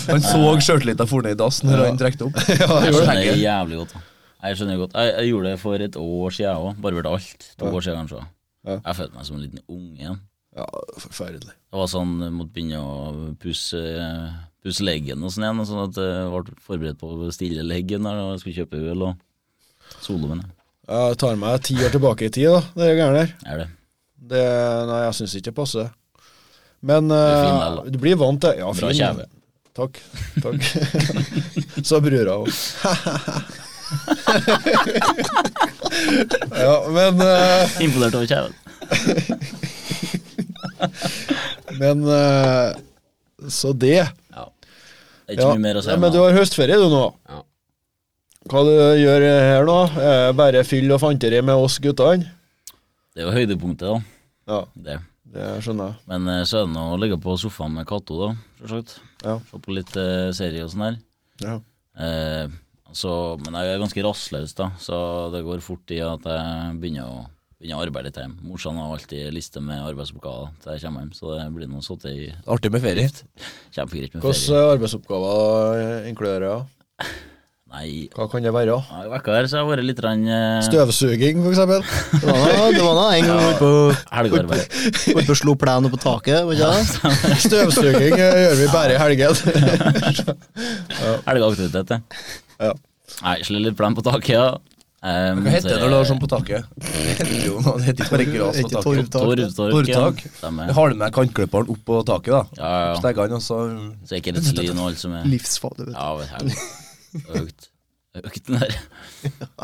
Speaker 1: Han så sjøltilliten forne i dass når han trekte opp.
Speaker 5: Jeg
Speaker 1: gjorde
Speaker 5: skjønner
Speaker 1: det.
Speaker 5: jævlig godt. da. Jeg skjønner godt. Jeg, jeg gjorde det for et år siden, jeg òg. Barberte alt. To år siden, kanskje.
Speaker 4: Ja.
Speaker 5: Jeg følte meg som en liten unge igjen.
Speaker 4: Ja, forferdelig.
Speaker 5: Det var sånn, jeg måtte begynne å pusse, pusse leggen og sånn igjen, og sånn at jeg ble forberedt på å stille leggen der, og jeg skulle kjøpe øl og solo med det.
Speaker 4: Jeg tar meg ti år tilbake i tid, da, det er gærent her.
Speaker 5: Er det.
Speaker 4: Det, nei, jeg syns ikke det passer. Men
Speaker 5: er fin
Speaker 4: eh,
Speaker 5: del, da.
Speaker 4: du blir vant til Ja,
Speaker 5: Bra
Speaker 4: fin.
Speaker 5: kjeve.
Speaker 4: Takk. takk. Så brura òg. ja, men eh,
Speaker 5: Imponert over kjeven.
Speaker 4: Men eh, så det.
Speaker 5: Ja. Det er ikke mye mer å si
Speaker 4: Nei,
Speaker 5: om
Speaker 4: men du
Speaker 5: det.
Speaker 4: har høstferie du nå.
Speaker 5: Ja.
Speaker 4: Hva du gjør her nå? Eh, Bare fyll og fanteri med oss guttene?
Speaker 5: Det er jo høydepunktet, da.
Speaker 4: Ja,
Speaker 5: Det.
Speaker 4: det skjønner jeg.
Speaker 5: Men eh, så er det nå å ligge på sofaen med Cato, da, selvsagt.
Speaker 4: Ja.
Speaker 5: Se på litt eh, serie og sånn her.
Speaker 4: Ja.
Speaker 5: Eh, så, men jeg er ganske rastløs, da, så det går fort i at jeg begynner å, begynner å arbeide litt hjemme. Morsan har alltid liste med arbeidsoppgaver til jeg kommer hjem, så det blir nå sittet i
Speaker 1: Artig med ferie.
Speaker 5: kjempegreit med ferie.
Speaker 4: Hvilke arbeidsoppgaver eh, inkluderer det?
Speaker 5: Nei,
Speaker 4: Hva kan det være?
Speaker 5: ja, i vekka her så har jeg vært litt rann, eh,
Speaker 4: Støvsuging, for eksempel.
Speaker 2: Det var da, det var da en gang vi var
Speaker 5: helgearbeid.
Speaker 2: oppe og slo plenen opp på taket. Var ikke det?
Speaker 4: Støvsuging eh, gjør vi bare i helgen.
Speaker 5: Helgeaktivitet, det.
Speaker 4: Ja.
Speaker 5: Nei, slå litt plen på taket, ja. Eh,
Speaker 1: Hva heter det når du har
Speaker 5: så-
Speaker 1: sånn på taket? Det heter jo noe- det heter ikke bare gras på
Speaker 2: Ikke
Speaker 1: taket.
Speaker 2: torvtak.
Speaker 5: Torv, torv, ja.
Speaker 1: Torvtak.
Speaker 5: Stemmer.
Speaker 1: Du har med taket opp på taket, da.
Speaker 5: Ja, ja, ja.
Speaker 1: Stegger han, og så
Speaker 5: Så er ikke rettslyn og alt som er
Speaker 2: Livsfarlig. vet du.
Speaker 5: Ja, vet du. Økt. Økt den der.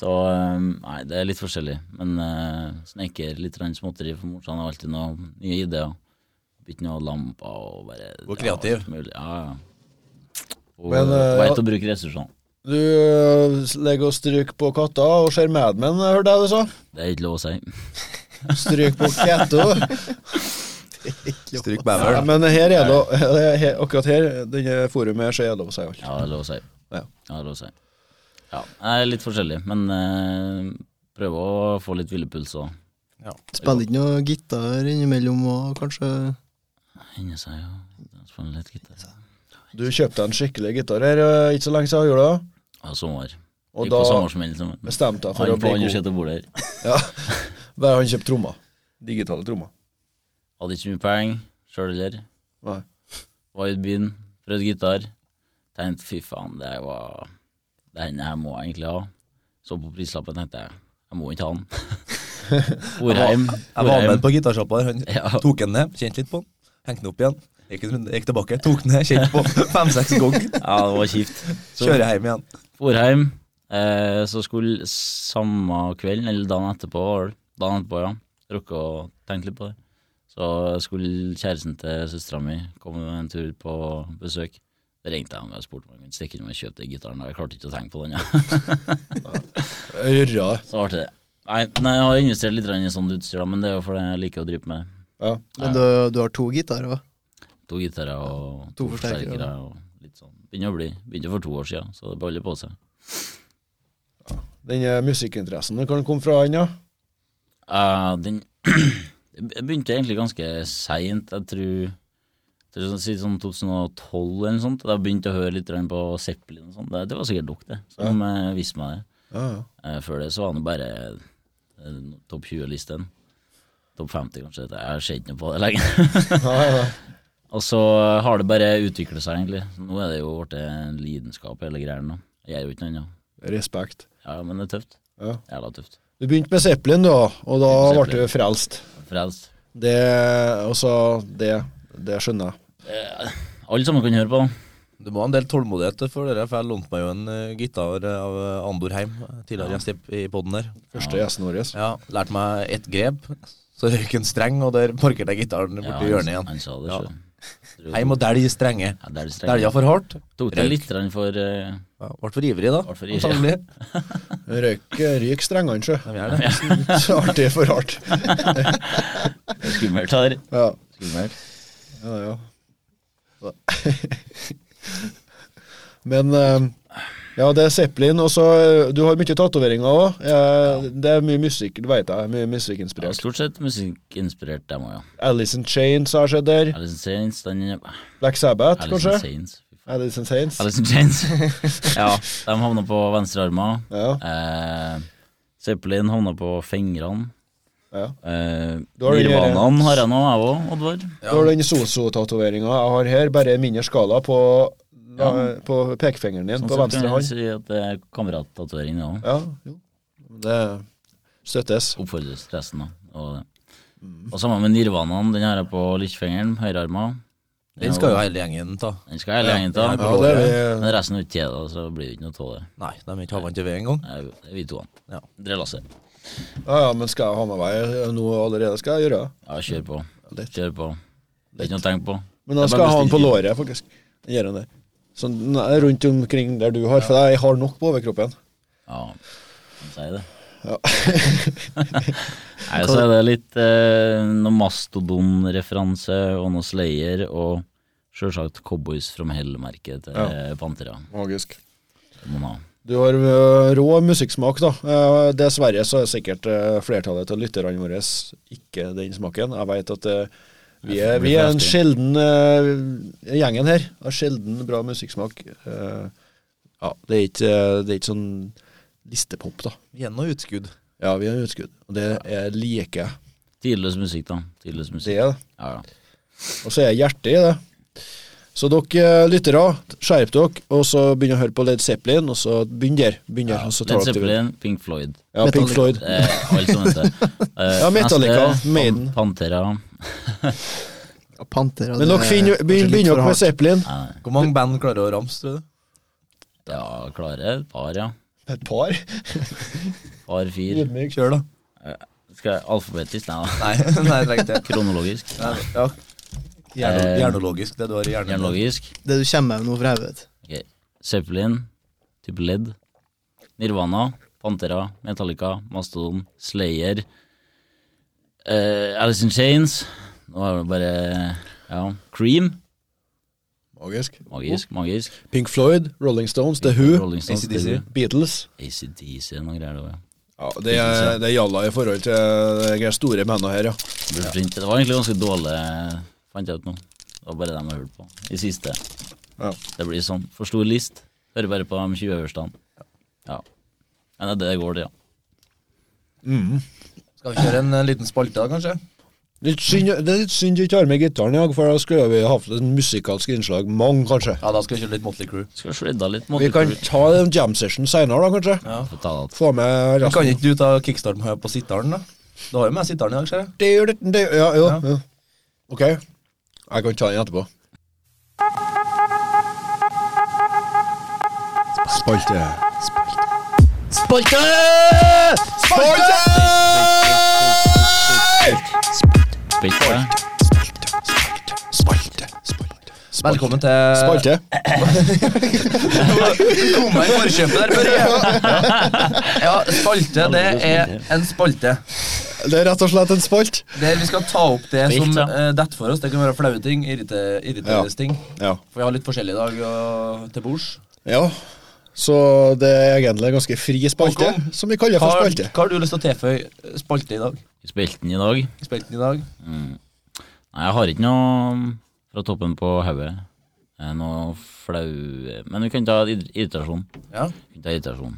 Speaker 5: Så um, nei, det er litt forskjellig. Men uh, sneker, litt grann småtteri for morsan har alltid noen nye ideer. Bytte noen lamper og bare
Speaker 1: Hvor
Speaker 5: Ja,
Speaker 1: kreativ.
Speaker 5: alt mulig. ja. ja. Og
Speaker 4: Men, eh,
Speaker 5: veit
Speaker 4: ja.
Speaker 5: å bruke ressursene.
Speaker 4: Du øh, legger og stryker på katta og ser Mad Men, eh, hørte jeg du sa?
Speaker 5: Det er ikke lov å si.
Speaker 4: Stryk på katta. Ja,
Speaker 1: stryk bæver.
Speaker 4: men her er det, her- her, akkurat her, denne forumet her, så er det lov å si alt.
Speaker 5: Ja, det er lov å si.
Speaker 4: Ja.
Speaker 5: Ja, det er lov å si. Ja, jeg er litt forskjellig, men eh, prøver å få litt hvilepuls òg.
Speaker 2: Spiller ikke noe gitar innimellom og kanskje
Speaker 5: Inni seg, ja. Spille litt gitar.
Speaker 4: Du kjøpte en skikkelig gitar her øh, ikke så lenge siden, gjorde du det?
Speaker 5: Ja, sommer.
Speaker 4: Og
Speaker 5: Gikk på
Speaker 4: da
Speaker 5: sommersmell. som-
Speaker 4: bestemte jeg for å
Speaker 5: Han på
Speaker 4: bli
Speaker 5: andre
Speaker 4: god.
Speaker 5: setet bor der.
Speaker 4: Bare han kjøpte trommer. Digitale trommer.
Speaker 5: Hadde ikke mye penger sjøl heller.
Speaker 4: Nei.
Speaker 5: Var i byen, prøvde gitar. Tenkte fy faen, det var Den her må jeg egentlig ha. Så på prislappen tenkte jeg jeg må ikke ha den. Orheim.
Speaker 1: Jeg var med på gitarsjappa der. Han
Speaker 5: Ja.
Speaker 1: tok den ned, kjente litt på den, hengte den opp igjen. Gikk, en runde, gikk tilbake, tok den ned, kjente på den fem-seks ganger.
Speaker 5: Ja, det var kjipt.
Speaker 1: Kjører hjem igjen.
Speaker 5: Orheim. Eh, så skulle samme kvelden, eller dagen etterpå, var det. dagen etterpå, ja, rukket å tenke litt på det. Så skulle kjæresten til søstera mi komme en tur på besøk. Da ringte jeg ham og spurte om han kunne stikke innom og kjøpe den gitaren. og Jeg klarte ikke å tenke på den. Ja.
Speaker 4: Ørra.
Speaker 5: Så ble det det. Nei, nei, jeg har investert litt grann i sånt utstyr, da, men det er jo fordi jeg liker å drive med
Speaker 4: Ja.
Speaker 2: Men du, du har to gitarer òg.
Speaker 5: to gitarer og
Speaker 2: To
Speaker 5: to
Speaker 2: forsterkere.
Speaker 5: forsterkere. og litt sånn. Begynner å bli. Begynte for to år siden, så det baller på seg.
Speaker 4: Den eh, musikkinteressen kan komme fra han, ja.
Speaker 5: Eh, den Jeg begynte egentlig ganske seint. Jeg tror det er sånn- si sånn 2012 eller noe sånt. Da jeg begynte å høre litt grann på Zeppelin og sånt. Det, det var sikkert dere det, som eh, viste meg det.
Speaker 4: Ja, ja.
Speaker 5: Eh, før det så var det bare eh, topp 20-listen. Topp 50, kanskje. Det- Jeg ser ikke noe på det lenger.
Speaker 4: Ja, ja.
Speaker 5: og så har det bare utvikla seg, egentlig. Så nå er det jo blitt en lidenskap, hele greia. nå. Jeg gjør jo ikke noe annet.
Speaker 4: Respekt.
Speaker 5: Ja, men det er tøft.
Speaker 4: Ja.
Speaker 5: Jævla tøft.
Speaker 4: Du begynte med Zeppelin, da, og da
Speaker 5: Begynte med
Speaker 4: ble du frelst.
Speaker 5: Frelst.
Speaker 4: Det, altså, det, det skjønner jeg.
Speaker 5: Alle sammen kan høre på.
Speaker 1: Du må ha en del tålmodighet for dere, for jeg lånte meg jo en eh, gitar av eh, Andor Heim, tidligere gjest i- i poden der.
Speaker 4: Første gjesten vår.
Speaker 1: Ja, lærte meg ett grep, så røyk en streng, og der parkerte jeg gitaren
Speaker 5: Ja,
Speaker 1: borti
Speaker 5: han-
Speaker 1: hjørnet igjen.
Speaker 5: Han sa det
Speaker 1: Ja.
Speaker 5: sjøl.
Speaker 1: Heim og dælj strenge.
Speaker 5: Ja, der er det strengt.
Speaker 1: Dælja for hardt.
Speaker 5: Tok det litt grann for eh,
Speaker 1: Ja, ble for ivrig, da.
Speaker 5: Ble for ivrig.
Speaker 1: Antagelig.
Speaker 4: Røyk, røyk strengene, sjø.
Speaker 1: De gjør det.
Speaker 5: sånn.
Speaker 4: Så artig for hardt.
Speaker 5: skummelt her.
Speaker 4: Ja,
Speaker 5: Skummelt.
Speaker 4: ja, ja. Men eh, ja, det er Zeppelin, og så eh, Du har mye tatoveringer òg. Det er mye musikk, du veit jeg. Mye
Speaker 5: Ja,
Speaker 4: musikkinspirert.
Speaker 5: stort sett musikkinspirert, dem òg, ja.
Speaker 4: Alice in Chains har skjedd der.
Speaker 5: Alice in Chains, den
Speaker 4: Black Sabbath,
Speaker 5: Alice in
Speaker 4: kanskje.
Speaker 5: Chains.
Speaker 4: Alice in Chains.
Speaker 5: Alice in Chains. ja, de havna på venstrearma.
Speaker 4: Ja,
Speaker 5: Eh, Zeppelin havna på fingrene.
Speaker 4: ja.
Speaker 5: Eh,
Speaker 4: Du har den der-
Speaker 5: Nirvanaen har jeg nå, jeg òg, Oddvar.
Speaker 4: Du har den soso-tatoveringa jeg har her, bare i mindre skala på, eh,
Speaker 5: Ja.
Speaker 4: på pekefingeren din
Speaker 5: Sånn sett
Speaker 4: på
Speaker 5: kan
Speaker 4: venstre
Speaker 5: jeg
Speaker 4: hånd.
Speaker 5: si at det er kamerattatovering, det òg.
Speaker 4: Ja, jo. Det støttes.
Speaker 5: oppfordres til resten. Da. Og,
Speaker 4: Mm.
Speaker 5: og samme med nirvanaen, den har jeg på lillefingeren, høyrearma.
Speaker 1: Den skal jo hele gjengen ta.
Speaker 5: Den skal jeg hele gjengen
Speaker 1: Ja,
Speaker 5: ta.
Speaker 4: Ja, det er vi.
Speaker 5: Men resten er ikke til, da, så blir det ikke noe av det.
Speaker 1: Nei, de er ikke havna til ved engang.
Speaker 5: Det er jo- det er vi to.
Speaker 1: Ja.
Speaker 5: Dre Lasse.
Speaker 4: Ja, ja, men skal jeg ha med meg nå allerede, skal jeg gjøre det.
Speaker 5: Ja, kjør på.
Speaker 4: Lett.
Speaker 5: Kjør på. Det er ikke noe å tenke på.
Speaker 4: Men da
Speaker 5: Det er
Speaker 4: skal
Speaker 5: bare
Speaker 4: jeg ha den på
Speaker 5: bestilt.
Speaker 4: låret, faktisk. Jeg Gjør den der. Sånn nei, rundt omkring der du har, for jeg har nok på overkroppen.
Speaker 5: Ja, kan si det.
Speaker 4: Ja.
Speaker 5: Nei, så er det litt eh, noe Mastodon-referanse og noe Slayer og sjølsagt Cowboys from Hell-merket til
Speaker 4: Ja.
Speaker 5: ja. Pantera.
Speaker 4: Magisk.
Speaker 5: Det må man ha.
Speaker 4: Du har ø, rå musikksmak, da. Eh, Dessverre så er sikkert eh, flertallet av lytterne våre ikke den smaken. Jeg veit at eh, vi er, vi er en sjelden eh, gjengen her. Har sjelden bra musikksmak. Eh, ja, det er ikke, eh, det er ikke sånn listepop, da.
Speaker 1: Gjennom utskudd.
Speaker 4: Ja, vi har utskudd. Og det er like
Speaker 5: Tidløs musikk, da. Tidløs
Speaker 4: det.
Speaker 5: musikk.
Speaker 4: er det.
Speaker 5: Ja, ja.
Speaker 4: Og så er hjertet i det. Så dere eh, lyttere, skjerp dere, og så begynn å høre på Led Zeppelin, og så begynn der. Begynn der, og så tar
Speaker 5: Led
Speaker 4: dere til-
Speaker 5: Zeppelin, Pink Floyd.
Speaker 4: Ja, Pink
Speaker 2: Metallica.
Speaker 4: Floyd.
Speaker 5: Eh, alt som heter. Eh,
Speaker 4: Ja, Metallica, Maiden.
Speaker 5: Pan Pantera.
Speaker 2: Panter
Speaker 4: Men
Speaker 2: og det
Speaker 4: dere
Speaker 2: er
Speaker 4: finner-
Speaker 2: kanskje
Speaker 4: begynn
Speaker 2: litt
Speaker 4: begynn
Speaker 2: for
Speaker 4: dere med
Speaker 2: hardt.
Speaker 4: Zeppelin.
Speaker 5: Nei, nei.
Speaker 1: Hvor mange band klarer å ramse, tror du?
Speaker 5: Ja, klare et par, ja.
Speaker 4: Et par.
Speaker 5: Par, fire.
Speaker 1: Kjør, da.
Speaker 5: Skal jeg alfabetisk? Nei da.
Speaker 1: Nei, nei, trenger ikke det.
Speaker 5: Kronologisk.
Speaker 1: Nei, Ja. Hjerne, hjernologisk, det du har i hjernen.
Speaker 5: Kronologisk.
Speaker 2: Det du kommer med nå fra hodet.
Speaker 5: Ok. Zeppelin, type ledd. Nirvana, Pantera, Metallica, Mastodon, Slayer. eh, Alice in Chains. Nå er det bare Ja. Cream.
Speaker 4: Magisk.
Speaker 5: Magisk, magisk.
Speaker 4: Pink Floyd, Rolling Stones, The Who,
Speaker 5: Rolling Stones,
Speaker 1: AC/DC.
Speaker 5: The Who.
Speaker 4: Beatles.
Speaker 5: ACDC og noen greier. det var, ja.
Speaker 4: Ja, det er, det er jalla i forhold til eh, de her store mennene her, ja.
Speaker 5: Burde printe. Det var egentlig ganske dårlig, fant jeg ut nå. Det var bare dem jeg hørte på. I siste.
Speaker 4: Ja.
Speaker 5: Det blir sånn. For stor list. Hører bare på de 20 øverste. Ja. Men det er det det går til, ja.
Speaker 1: Skal vi kjøre en, eh, liten spalte, da, kanskje?
Speaker 4: Litt synd, det er litt synd jeg ikke har med gitaren i dag, for da skulle vi hatt et musikalsk innslag. Mange, kanskje.
Speaker 1: Ja, da skal vi kjøre litt Motley Crew.
Speaker 5: Skal sledda litt.
Speaker 4: Vi kan ta en jam session seinere, da, kanskje.
Speaker 5: Få ta det.
Speaker 4: Få med
Speaker 1: Kan
Speaker 4: resten.
Speaker 1: ikke du ta kickstart med på sitteren, da? Du har jo med sitteren i dag, ser jeg.
Speaker 4: Det gjør det, det, ja, jo, ja. Ok. Jeg kan ta den etterpå. Spalte.
Speaker 2: Spalte!
Speaker 5: Spilte.
Speaker 1: Velkommen til
Speaker 4: Spalte.
Speaker 1: Du kom meg i forkjøpet der, Børre. Ja, spalte, det er en spalte.
Speaker 4: Det er rett og slett en spalt.
Speaker 1: Der vi skal ta opp det som
Speaker 5: Vilt, ja.
Speaker 1: uh, detter for oss. Det kan være flaue ting, irrite- irriterende
Speaker 4: Ja.
Speaker 1: ting.
Speaker 4: Ja.
Speaker 1: For vi har litt forskjellig i dag og, til bords.
Speaker 4: ja. Så det er egentlig en ganske fri spalte,
Speaker 1: Håkon,
Speaker 4: som vi kaller
Speaker 1: Hva,
Speaker 4: for
Speaker 1: har-
Speaker 4: spalte.
Speaker 1: hva har du lyst til å tilføye eh, spalte i dag?
Speaker 5: Vi spilte den i dag.
Speaker 1: Spalten i dag?
Speaker 5: Nei, jeg har ikke noe um, fra toppen på hodet. Eh, Noe flau Men vi kan ta ir- irritasjon.
Speaker 1: Ja.
Speaker 5: Vi kan ta irritasjon.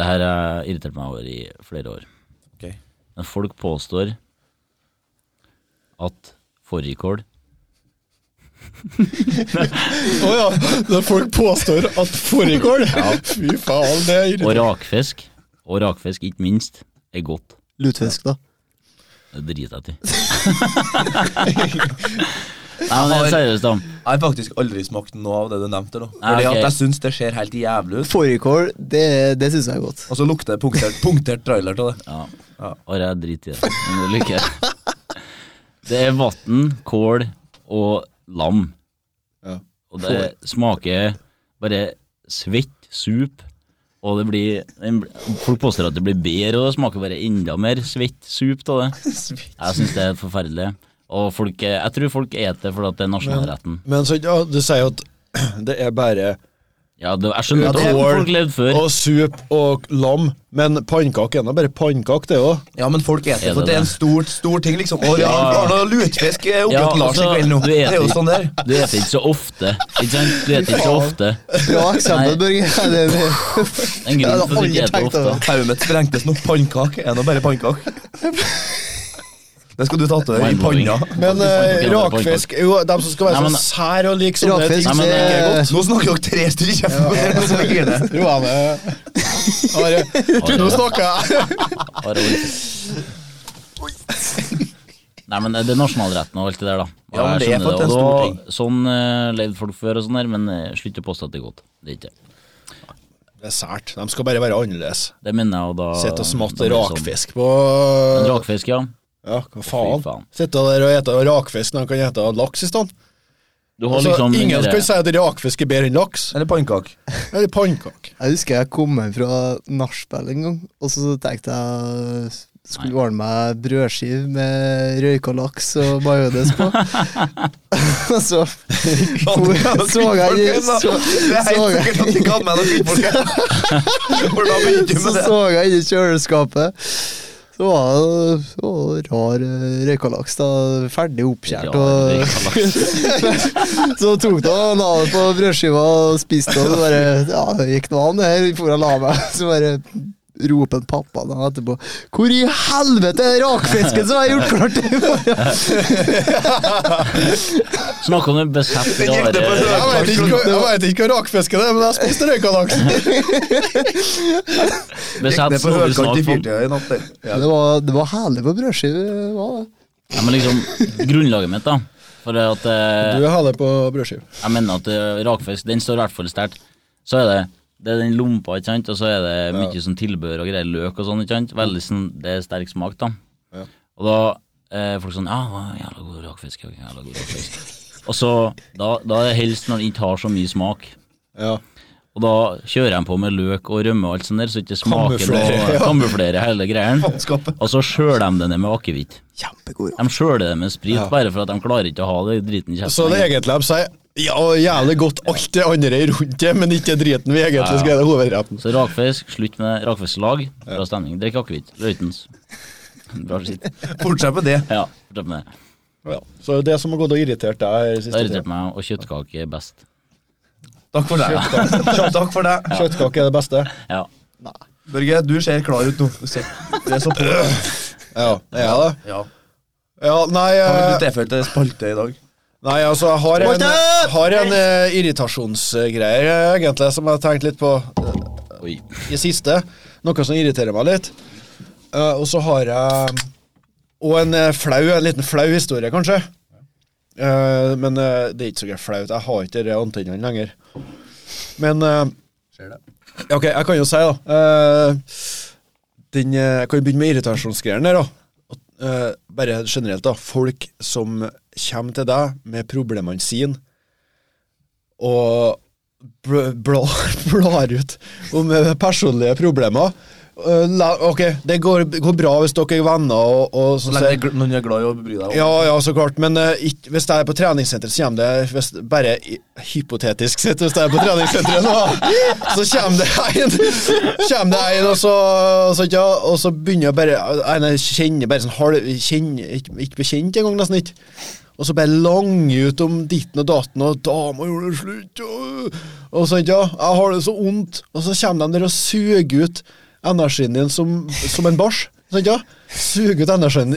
Speaker 5: Det her har irritert meg over i flere år.
Speaker 1: Ok.
Speaker 5: Men folk påstår at fårikål
Speaker 4: Å ja, når folk påstår at fårikål Fy faen, det er
Speaker 5: og
Speaker 4: irriterende.
Speaker 5: rakfisk, og rakfisk ikke minst, er godt.
Speaker 2: Lutfisk, da.
Speaker 5: Det driter jeg i. Nei, men helt seriøst, da.
Speaker 1: Jeg har faktisk aldri smakt noe av det du nevnte. da
Speaker 5: Nei,
Speaker 1: Fordi
Speaker 5: ok.
Speaker 1: at jeg syns det ser helt jævlig ut.
Speaker 2: Fårikål, det, det syns jeg er godt.
Speaker 1: Og så lukter det punktert, punktert trailer til det.
Speaker 5: Ja.
Speaker 1: Ja.
Speaker 5: Og jeg driter i det. Men det lykkes. Det er vann, kål og lam.
Speaker 4: Ja.
Speaker 5: Og det smaker bare svett sup. Og det blir den bl- Folk påstår at det blir bedre, og det smaker bare enda mer svett sup av det. Jeg syns det er forferdelig. Og folk, eh, jeg tror folk spiser det fordi at det er nasjonalretten.
Speaker 4: Men så, ja, du sier at det er bare
Speaker 5: Ja, det, jeg skjønner
Speaker 4: Ja,
Speaker 5: at
Speaker 4: det er-
Speaker 5: folk levde før.
Speaker 4: og sup og lam, men pannekake er nå bare pannekake, det òg.
Speaker 1: Ja, men folk eter
Speaker 5: Er
Speaker 1: for
Speaker 5: det
Speaker 1: det er en
Speaker 5: det?
Speaker 1: stor, stor ting, liksom. Å, ja,
Speaker 5: Ja.
Speaker 1: Arne Lutfisk er oppe
Speaker 5: Ja,
Speaker 1: til eh, Lars i
Speaker 5: altså,
Speaker 1: kveld nå.
Speaker 5: du
Speaker 1: Det
Speaker 5: eter
Speaker 1: er jo
Speaker 5: ikke.
Speaker 1: sånn der.
Speaker 5: Du spiser ikke så ofte. Ikke sant? Du spiser ikke så ofte.
Speaker 2: Bra eksempel, Børge. Det er det.
Speaker 5: Det er en grunn for at du ikke
Speaker 2: Jeg hadde
Speaker 5: spiser
Speaker 2: aldri tenkt
Speaker 5: ofte.
Speaker 2: over
Speaker 1: Hodet mitt sprengtes nå. Pannekake er nå bare pannekake. Det skal du ta til deg i
Speaker 5: Mindblowing.
Speaker 1: panna.
Speaker 4: Men eh,
Speaker 5: Pannekake er bare
Speaker 4: rakfisk Jo, de som skal være
Speaker 5: Nei, men-
Speaker 4: så sær og like sånne
Speaker 2: Rakfisk,
Speaker 5: Nei, men,
Speaker 2: det
Speaker 5: eh,
Speaker 2: er godt.
Speaker 1: Nå snakker dere tre stykker kjeft.
Speaker 4: ting Roane eh. Are, Nå snakker jeg!
Speaker 5: Bare ord. Nei, men det er nasjonalretten og alt det der, da. Og
Speaker 1: Ja, men
Speaker 5: jeg
Speaker 1: det er
Speaker 5: skjønner
Speaker 1: for at det er
Speaker 5: og
Speaker 1: en
Speaker 5: da- Sånn eh, levde folk før og sånn der, men eh, slutt å påstå at det er godt. Det er ikke det.
Speaker 4: Det er sært. De skal bare være annerledes.
Speaker 5: Det mener jeg, og da
Speaker 4: Sitte og
Speaker 5: da
Speaker 4: smatte
Speaker 5: blir det sånn.
Speaker 4: rakfisk på
Speaker 5: Men Rakfisk, ja.
Speaker 4: Ja, hva
Speaker 5: Fy
Speaker 4: faen?
Speaker 5: faen.
Speaker 4: Sitte der og ete rakfisk når de kan ete laks i stand.
Speaker 5: Du har
Speaker 4: Altså,
Speaker 5: liksom den
Speaker 4: ingen
Speaker 5: derre-
Speaker 4: kan si at rakfisk er bedre enn laks.
Speaker 1: Eller pannekake.
Speaker 4: Eller pannekake.
Speaker 2: Jeg husker jeg kom hjem fra nachspiel en gang, og så tenkte jeg skulle ordne meg brødskive med røyka laks og majones på. Og så så jeg så,
Speaker 1: altså. Det er helt sikkert at de kan meg noen kvinnfolk. For da begynte vi
Speaker 2: så,
Speaker 1: med det.
Speaker 2: så jeg inni kjøleskapet. Så var det så var det rar eh, røykalaks, da. Ferdig
Speaker 5: Ja,
Speaker 2: oppskjært.
Speaker 5: det
Speaker 2: Og,
Speaker 5: er kalaks.
Speaker 2: så tok det og la det på brødskiva og spiste, og så bare Ja, det gikk noe an, det her. For å la meg. Så bare roper en pappa da etterpå 'Hvor i helvete er rakfisken som jeg har gjort klart til i morgen?'
Speaker 5: Snakk om den besett rare
Speaker 4: Jeg vet ikke hva- jeg vet ikke hva rakfiske det er, men jeg spiste røykalaks.
Speaker 5: Besett noe vi snakk om.
Speaker 1: i natt, det. Ja.
Speaker 2: Det var, det var herlig på brødskive. det var det.
Speaker 5: Ja, men liksom, grunnlaget mitt, da. For at eh,
Speaker 4: Du har det på brødskive.
Speaker 5: Jeg mener at eh, rakfisk, den står i hvert fall sterkt. Så er det det er den lompa, ikke sant, og så er det mye sånn tilbehør og greier, løk og sånn, ikke sant. Veldig sånn, det er sterk smak, da.
Speaker 4: Ja.
Speaker 5: Og da eh, folk sånn Ja, det var jævla god rakfisk. ja, Jævla god rakfisk. og så, da, da er det helst når den ikke har så mye smak.
Speaker 4: Ja.
Speaker 5: Og da kjører de på med løk og rømme og alt sånt der, så ikke smaker
Speaker 4: Kamuflere,
Speaker 5: noe. Kamuflere hele greien.
Speaker 1: Faenskapet.
Speaker 5: Og så skjøler de det ned med akevitt.
Speaker 2: Kjempegod.
Speaker 5: De skjøler det med sprit, bare for at de klarer ikke å ha det driten i kjeften.
Speaker 4: Så det er egentlig de sier ja, og jævlig godt alt det andre rundt det, men ikke driten vi egentlig skal ha i hovedretten.
Speaker 5: Så rakfisk, slutt med rakfisklag. Bra stemning. Drikk akevitt. Røytens. Bra skitt.
Speaker 1: Fortsett med det.
Speaker 5: Ja, fortsett med det.
Speaker 4: Ja. Så det som har gått og irritert deg i
Speaker 5: Det har
Speaker 4: siste
Speaker 5: irritert meg, og kjøttkake er best.
Speaker 1: Takk for deg. Takk for deg.
Speaker 4: Kjøttkake er det beste.
Speaker 5: Ja.
Speaker 1: Børge, du ser klar ut nå. Du ser- Du er så på.
Speaker 4: Ja, ja, det.
Speaker 1: Ja.
Speaker 4: ja nei,
Speaker 1: Hva vil du
Speaker 4: eh,
Speaker 1: tilføye til spalte i dag?
Speaker 4: nei, altså, jeg har en,
Speaker 1: Malte!
Speaker 4: har en eh, irritasjonsgreie, eh, egentlig, som jeg har tenkt litt på eh,
Speaker 5: Oi.
Speaker 4: i siste. Noe som irriterer meg litt. Eh, og så har jeg Og en eh, flau, en liten flau historie, kanskje. Eh, men eh, det er ikke så gøy flaut. Jeg har ikke de antennene lenger. Men eh, ja, Ok, jeg kan jo si, da. eh, den, eh, jeg kan jo begynne med irritasjonsgreiene der, da. At, eh, bare generelt, da. Folk som kommer til deg med problemene sine, og bl- bla- blar ut om eh, personlige problemer. Eh, la- Ok, det går, går bra hvis dere er venner og, og
Speaker 1: Så
Speaker 4: sånn.
Speaker 1: lenge det er gl- noen du er glad i å bry deg om.
Speaker 4: Ja, ja, så klart. Men eh, ikk- hvis jeg er på treningssenteret, så kommer det hvis, Bare i- hypotetisk sett, hvis jeg er på treningssenteret nå, så kommer det en, kommer det en og, så, og så, ja, og så begynner jeg bare en Jeg kjenner bare sånn halv kjenner, ikke, ikke bekjent engang, nesten ikke. Og så bare lange ut om ditten og datten, og 'dama gjorde det slutt', og, og sånt, ja. 'Jeg har det så vondt', og så kommer de der og suger ut energien din som, som en bæsj. Sånn, ja. Suger ut energien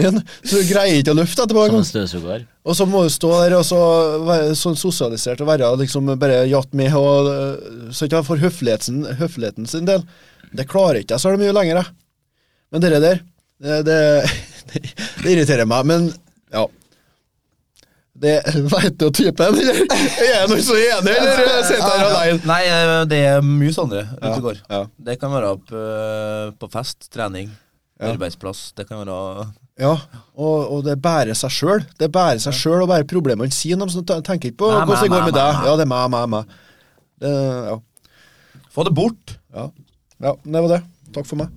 Speaker 4: din, så du greier ikke å løfte
Speaker 5: Som
Speaker 4: etterpå engang.
Speaker 5: en støvsuger.
Speaker 4: Og så må du stå der og så være sånn sosialisert og være liksom bare jatt med og øh, Så ikke jeg får høfligheten, høfligheten sin del. Det klarer ikke jeg så er det mye lenger, jeg. Men det der, det, det, det irriterer meg. Men ja. Det Veit du typen, eller? Er jeg noe så enig, eller sitter jeg her alene?
Speaker 1: Nei, eh, det er mye sånne ute
Speaker 4: Ja,
Speaker 1: og går.
Speaker 4: ja.
Speaker 1: Det kan være på, på fest, trening,
Speaker 4: Ja.
Speaker 1: arbeidsplass. Det kan være
Speaker 4: Ja, og, og det bærer seg sjøl. Det bærer seg sjøl å bære problemene sine. De som te- tenker ikke på
Speaker 1: Mæ, mæ,
Speaker 4: hvordan det går med
Speaker 1: mæ, mæ,
Speaker 4: deg.
Speaker 1: mæ.
Speaker 4: Ja, det er meg, meg, meg. Det, ja.
Speaker 1: Få det bort!
Speaker 4: Ja. ja, det var det. Takk for meg.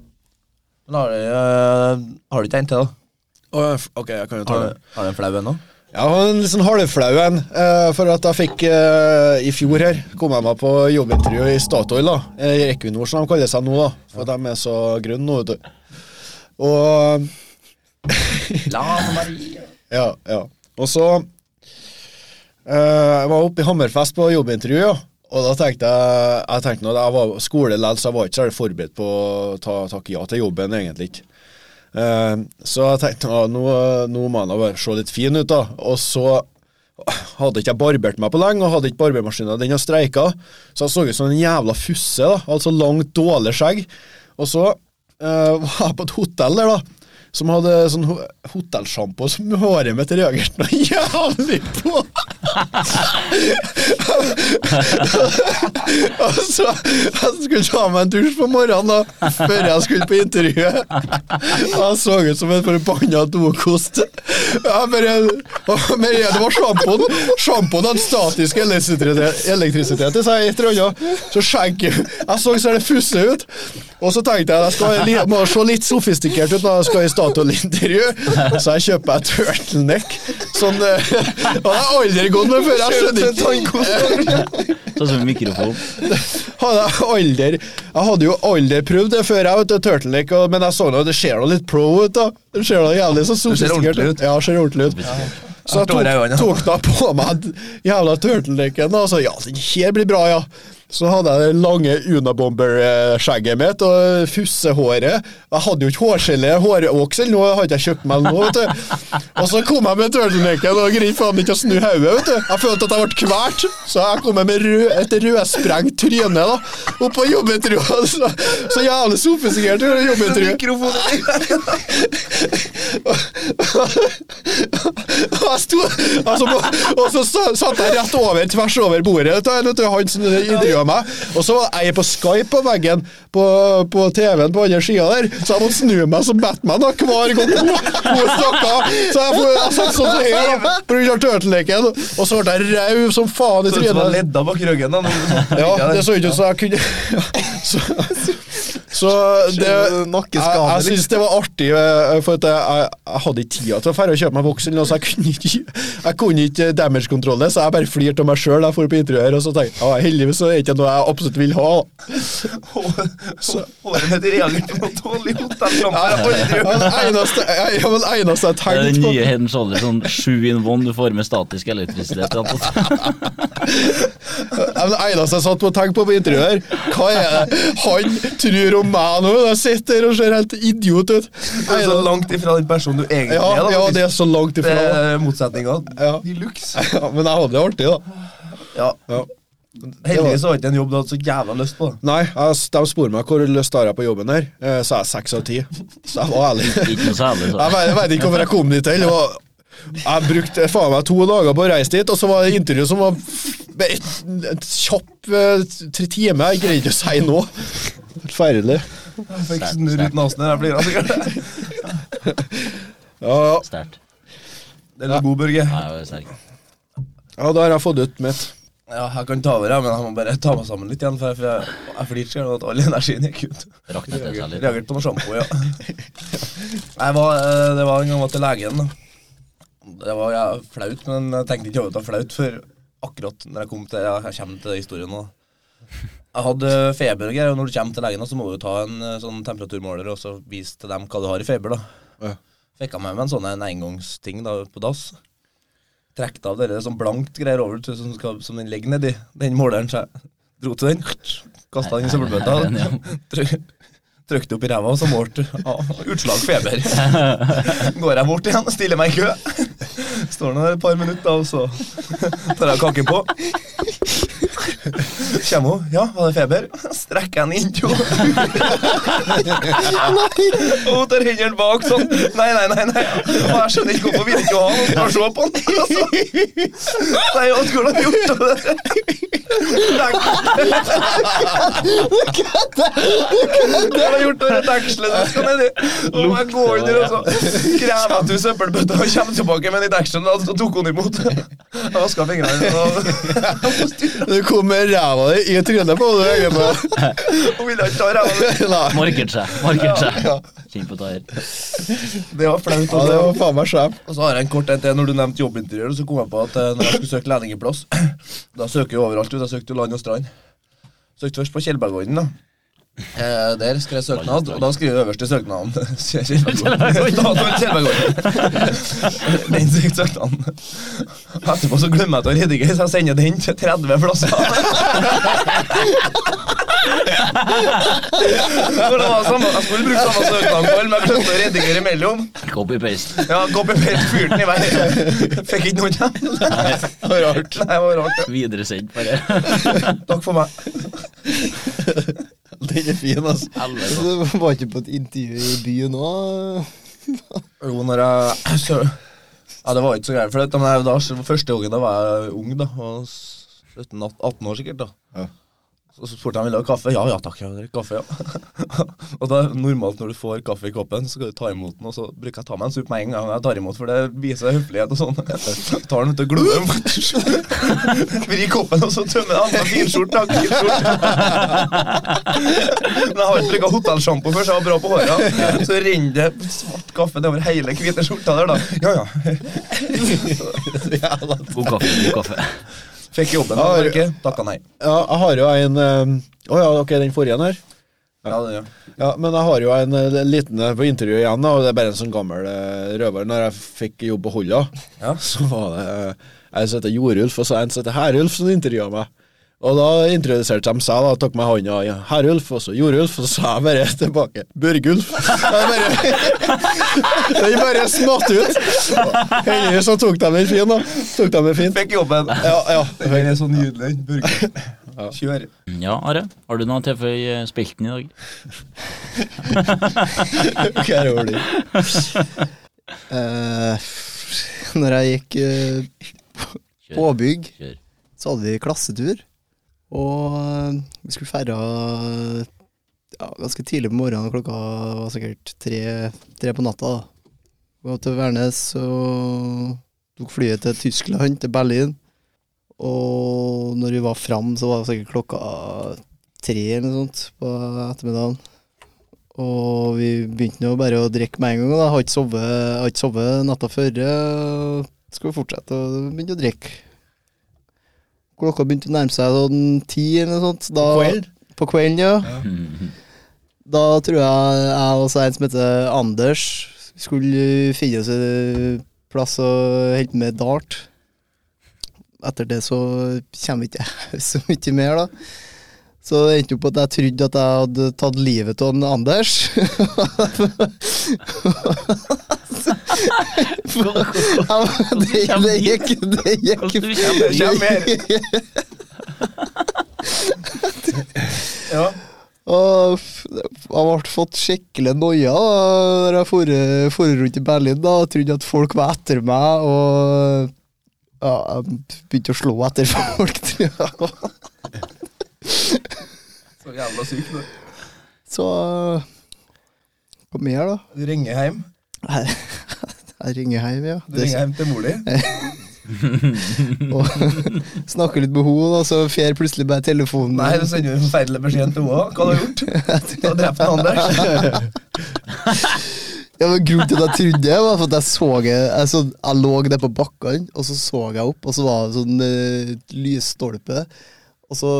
Speaker 1: Men har, du, eh, har du ikke en til, da?
Speaker 4: ok, jeg kan jo
Speaker 1: Har, du- har du en flau en nå?
Speaker 4: Ja, og en litt sånn halvflau en. eh, for at jeg fikk eh, I fjor her kom jeg meg på jobbintervju i Statoil, da. Eh, Equinor, som de kaller seg nå, da. For de er så grønne nå, vet du. Og
Speaker 1: La Maria
Speaker 4: Ja, ja. Og så eh, Jeg var oppe i Hammerfest på jobbintervju, ja. Og da tenkte jeg Jeg tenkte nå, jeg var skolelell, så jeg var ikke særlig forberedt på å ta, takke ja til jobben, egentlig ikke. Eh, så jeg tenkte nå, nå, nå må jeg nå bare se litt fin ut, da. Og så hadde ikke jeg barbert meg på lenge, og hadde ikke barbermaskinen den har streika. Så jeg så ut som en jævla fusse, da. Altså langt, dårlig skjegg. Og så eh, var jeg på et hotell der, da. Som hadde sånn ho hotellsjampo som håret mitt reagerte noe jævlig på! og så Jeg skulle ta meg en dusj på morgenen da, før jeg skulle på intervjuet. Og jeg så ut som en forbanna dokost. Jeg bare, og med en- det var sjampoen. Sjampoen hadde statisk elektrisitet elektrisitet i seg. etter og annet. Så skjegget Jeg så så det fusse ut. Og så tenkte jeg jeg skal li- må se litt sofistikert ut når jeg skal i Statoil-intervju, så jeg kjøper meg turtleneck. Sånn eh, Og jeg har aldri gått med før. Jeg skjønner ikke
Speaker 5: Sånn som en mikrofon.
Speaker 4: hadde jeg aldri Jeg hadde jo aldri prøvd det før, jeg, vet du, turtleneck, og- men jeg så nå det ser da litt pro ut, da. Det ser da jævlig så
Speaker 1: ser
Speaker 4: sofistikert
Speaker 1: ordentlig
Speaker 4: ut.
Speaker 1: ut.
Speaker 4: Ja, det ser ordentlig ut. Så jeg
Speaker 1: Artig hår i øynene.
Speaker 4: tok, tok da på meg den jævla turtlenecken, og så ja, den her blir bra, ja. Så hadde jeg det lange Unabomber-skjegget mitt og fussehåret. Jeg hadde jo ikke hårgelé, håråks eller noe, hadde jeg kjøpt meg noe. vet du. Og så kom jeg med turtlenecken og greide faen ikke å snu hodet. vet du. Jeg følte at jeg ble kvalt, så jeg kom med rød, et rødsprengt tryne da, oppå jobbetrua. Så, så jævlig sofistikert jobbetrua. Og jeg sto, altså, og så sa- satt jeg rett over, tvers over bordet vet du, vet du, Han som intervjuet meg Og så var jeg på Skype på veggen På, på TV-en på andre siden der Så jeg måtte snu meg som Batman da, hver gang hun, hun snakket. Så jeg, får- jeg satt sånn som jeg er, da På grunn av turtleken Og så ble jeg rev som faen i
Speaker 1: Så ut som han
Speaker 4: trynet
Speaker 1: ledda bak ryggen. da, når-
Speaker 4: Ja, det så ut som jeg kunne Så, så det jeg,
Speaker 2: Nakkeskade,
Speaker 4: jeg syns det var artig, eh, for at jeg, jeg, jeg hadde ikke tida til å fære og kjøpe meg voksen, så jeg kunne ikke, jeg kunne ikke damage-kontrolle, så jeg bare flirte av meg sjøl. Jeg for på interiør, og så tenkte jeg ah, heldigvis så er det ikke noe jeg absolutt vil ha. da."
Speaker 1: Hå- Håret mitt reagerer på noe dårlig
Speaker 4: Jeg,
Speaker 1: hotelllampe.
Speaker 4: jeg, jeg, eneste, jeg, jeg, var den eneste jeg
Speaker 5: Det er den
Speaker 4: tenkte på
Speaker 5: nye Head Shoulder, sånn sju in one du får med statisk elektrisitet. Ja,
Speaker 4: jeg, var den eneste jeg satt på og tenkte på på interiør, hva er det han tror om meg nå? Jeg sitter her og ser helt idiot ut.
Speaker 1: Du er så langt ifra den personen du egentlig
Speaker 4: Ja,
Speaker 1: er. da,
Speaker 4: ja,
Speaker 1: faktisk.
Speaker 4: det er så langt
Speaker 1: Det
Speaker 4: ifra. da.
Speaker 1: er motsetninga.
Speaker 4: Ja.
Speaker 1: I looks.
Speaker 4: Ja, men jeg hadde det artig, da.
Speaker 1: Ja.
Speaker 4: Ja.
Speaker 1: Heldigvis var det ikke en jobb du hadde så jævla lyst på.
Speaker 4: Nei, jeg, de spør meg hvor lyst har jeg på jobben her. Eh, Så er jeg seks av ti. Så jeg var ærlig.
Speaker 5: ikke noe særlig.
Speaker 4: Jeg
Speaker 5: Så.
Speaker 4: vet, jeg vet ikke hvorfor jeg kom dit heller. og Jeg brukte faen meg to dager på å reise dit, og så var det intervju som var med et, et kjapp eh, tre timer. Jeg greide ikke å si noe. Forferdelig.
Speaker 1: Jeg fikk snurr ut nesen her. Jeg blir altså
Speaker 4: Ja, ja.
Speaker 5: Sterkt.
Speaker 1: Den er god, Børge.
Speaker 5: Nei, jeg er sterk.
Speaker 4: ja, da har jeg fått ut mitt.
Speaker 1: Ja, jeg kan ta over, jeg, men jeg må bare ta meg sammen litt igjen. For jeg, for jeg, jeg flirte selv av at all energien gikk ut.
Speaker 5: Rakk det til seg litt.
Speaker 1: Reagerte på noe sjampo, ja. Jeg var, eh, det var en gang jeg var til legen. da. Det var ja, flaut, men jeg tenkte ikke over at det var flaut før akkurat når jeg kom til ja, Jeg kommer til historien nå. Jeg hadde feber, og greier, og når du kommer til legen, da, så må du ta en eh, sånn temperaturmåler og så vise til dem hva du har i feber. da.
Speaker 4: Ja.
Speaker 1: Fikk jeg med meg en sånn en engangsting da, på dass. Trekte av dere sånn blankt greier over til, som, skal, som den ligger nedi, den måleren. Så jeg dro til den, kasta den i
Speaker 5: Ja.
Speaker 1: søppelbøtta. Tryk- Trykte opp i ræva, og så målte ja, utslag feber. Går jeg bort igjen, stiller meg i kø. Står nå der et par minutter, da, og så tar jeg kaken på. Kommer hun. Ja, var det feber? Strekker jeg den inn til henne. Og hun tar hendene bak sånn. Nei, nei, nei. nei. Og jeg skjønner ikke hvorfor vi ikke har den. Skal se på den. Og så- Nei, hva skulle han gjort? Hva har jeg gjort med dekselet? Det skal nedi. Og jeg går under, og så krever at du søppelbøtta og kommer tilbake med de dekslene. Og så tok hun imot. Jeg vaska fingrene. og-
Speaker 4: Du kom med ræva di i trynet på du, egentlig.
Speaker 1: Hun ville ikke ta ræva mi.
Speaker 4: Nei.
Speaker 5: Markert seg. Markert seg. Kjenn på tær.
Speaker 1: Det var
Speaker 4: Ja,
Speaker 1: flaut.
Speaker 4: det
Speaker 1: altså.
Speaker 4: var faen meg skjem.
Speaker 1: Og så har jeg en kort en til. Når du nevnte jobbinteriør, så kom jeg på at eh, når jeg skulle søke lærlingplass Da søker jeg overalt. ut. Jeg søkte jo land og strand. Søkte først på Kjellbergodden, da. Eh, der skrev jeg søknad, og da skriver jeg øverst i søknaden Kjellbergodden. Datoen Kjellbergodden. Den søkte søknaden. Etterpå så glemmer jeg til å redigere, så jeg sender den til 30 plasser. For det var samme, jeg skulle bruke samme søknad, men jeg prøvde å redigere imellom.
Speaker 5: Copy-paste.
Speaker 1: Ja, copy-paste fyrten i vei. Fikk ikke noen hjem. Nei, rart. Nei, det var rart.
Speaker 5: Videresend, bare.
Speaker 1: Takk for meg.
Speaker 2: Den er fin, altså.
Speaker 5: Helvete.
Speaker 2: Du var ikke på et intervju i byen òg?
Speaker 1: Jo, når jeg så, Ja, det var ikke så greit. For det, men jeg, da, så- første gangen da var jeg ung, da. Og 17, 18 år sikkert. da
Speaker 4: Ja.
Speaker 1: Så så spurte jeg om jeg ville ha kaffe. Ja, ja takk, jeg vil drikke kaffe. ja Og da, normalt når du får kaffe i koppen, så skal du ta imot den. Og så bruker jeg ta meg en sup med en gang jeg tar imot, for det viser høflighet og sånn. Tar den ut og glor. Vrir koppen, og så tømmer jeg den. Finskjorte, jeg har ikke finskjorte. Men jeg har ikke brukt hotellsjampo før, så jeg var bra på håret. Så renner det svart kaffe nedover hele hvite skjorta der, da. Ja, ja.
Speaker 5: God kaffe. God kaffe.
Speaker 1: Fikk jobben, da. eller ikke? Takka nei.
Speaker 4: Ja, jeg har jo en eh, Å ja, ok, den forrige her.
Speaker 1: Ja, det, ja.
Speaker 4: Ja, men jeg har jo en eh, liten eh, på intervjuet igjen, da, og det er bare en sånn gammel eh, røver. Når jeg fikk jobb på Holla,
Speaker 1: Ja.
Speaker 4: så var det eh, en som heter Jorulf, og så en som heter Herulf, som intervjua meg. Og da introduserte de seg, da, tok meg hånda i Herulf, og så Jorulf, og så sa jeg bare tilbake Børgulf. Jeg bare, jeg bare smatt ut. Heldigvis så tok de den fin, da. Tok de den fin.
Speaker 1: Fikk jobben.
Speaker 4: Ja, ja.
Speaker 1: Den er så nydelig. den burgeren. Kjør.
Speaker 5: Ja, Are, har du noe til for eh, spelten i dag?
Speaker 4: Hva er det over det?
Speaker 2: Eh, når jeg gikk eh, påbygg,
Speaker 5: Kjør.
Speaker 2: så hadde vi klassetur. Og eh, vi skulle feire ja, ganske tidlig på morgenen, klokka var sikkert tre, tre på natta. da. Gå til Værnes og tok flyet til Tyskland, til Berlin. Og når vi var fram, så var det sikkert klokka tre eller noe sånt på ettermiddagen. Og vi begynte nå bare å drikke med en gang. Da. Jeg Har ikke sovet, jeg har ikke sovet natta før. og Skulle fortsette å begynne å drikke. Klokka begynte å nærme seg sånn ti eller noe sånt. Da,
Speaker 4: Kvelden?
Speaker 2: på kvelden, ja. Da tror jeg jeg og så en som heter Anders, skulle finne oss en plass og holde på med dart. Etter det så kommer ikke jeg så mye mer, da. Så det endte opp at jeg trodde at jeg hadde tatt livet av en Anders. Ja, men det, det gikk Det gikk
Speaker 5: Hvordan du kommer
Speaker 1: Kjem her.
Speaker 4: Ja.
Speaker 2: Og f- jeg ble fått skikkelig noia da når jeg for, for rundt i Berlin da, og trodde at folk var etter meg. Og ja, jeg begynte å slå etter folk. tror jeg.
Speaker 1: Så jævla syk du.
Speaker 2: Så eh, hva mer, da?
Speaker 1: Du ringer hjem.
Speaker 2: Jeg, jeg ringer hjem, ja.
Speaker 1: Du ringer hjem til mor di.
Speaker 2: og snakker litt med henne, og så fer plutselig bare telefonen.
Speaker 1: Nei, du sender jo en forferdelig beskjed til henne. Hva har du gjort? Du har drept en Anders.
Speaker 2: Ja, men Grunnen til at jeg trodde det, var for at jeg så Jeg, så, jeg lå der på bakkene, og så så jeg opp, og så var det sånn eh, lysstolpe. Og så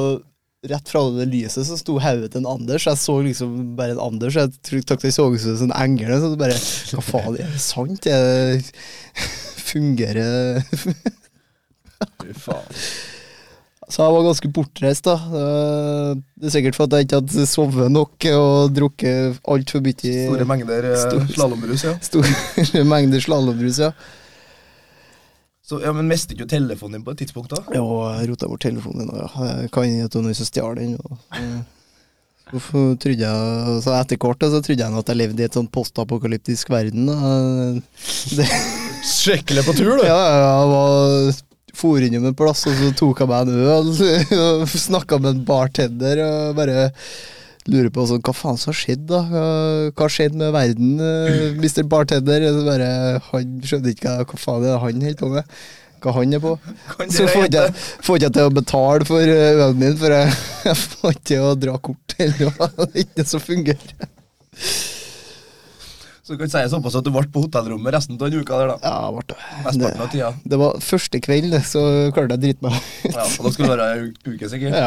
Speaker 2: rett fra det lyset så sto hodet til en Anders. Jeg så liksom bare en Anders. Jeg tro- tenkte jeg så ut som en sånn engel. Så bare Hva faen, er det sant? Er det Fungerer
Speaker 4: Fy faen.
Speaker 2: Så jeg var ganske bortreist, da. Eh, Det er sikkert for at jeg ikke hadde sovet nok og drukket altfor mye
Speaker 1: Store mengder eh,
Speaker 2: Stor-
Speaker 1: slalåmbrus, ja.
Speaker 2: store mengder slalåmbrus, ja.
Speaker 1: Så, ja. Men mistet ikke du telefonen din på et tidspunkt, da?
Speaker 2: Ja, jeg rota bort telefonen din. og Ja. Jeg Kan hende at det var noen som stjal den. og, eh, Så trodde jeg, så etter kortet så trodde jeg nå at jeg levde i et sånn postapokalyptisk verden. da. Det,
Speaker 4: Skikkelig på tur,
Speaker 2: ja,
Speaker 4: du.
Speaker 2: jeg var for innom en plass, og så tok jeg meg en øl og snakka med en bartender. og bare lurer på sånn, hva faen som har skjedd, da? Hva- Hva skjedde med verden, eh, Mr. Bartender? Så bare, han skjønte ikke hva- hva faen er det han holder på med. Hva han er på.
Speaker 1: Kan
Speaker 2: Så
Speaker 1: dere
Speaker 2: får ikke jeg
Speaker 1: hete-
Speaker 2: får ikke jeg til å betale for eh, ølen min, for jeg, jeg får ikke til å dra kort eller noe. Det er ikke det som fungerer.
Speaker 1: Så du kan si såpass at du ble på hotellrommet resten av den uka der, da.
Speaker 2: Ja, Marte. Det,
Speaker 1: Mesteparten av tida.
Speaker 2: det var første kveld, det, så klarte jeg å drite meg ut.
Speaker 1: Ja, og da skulle det være ei uke, sikkert.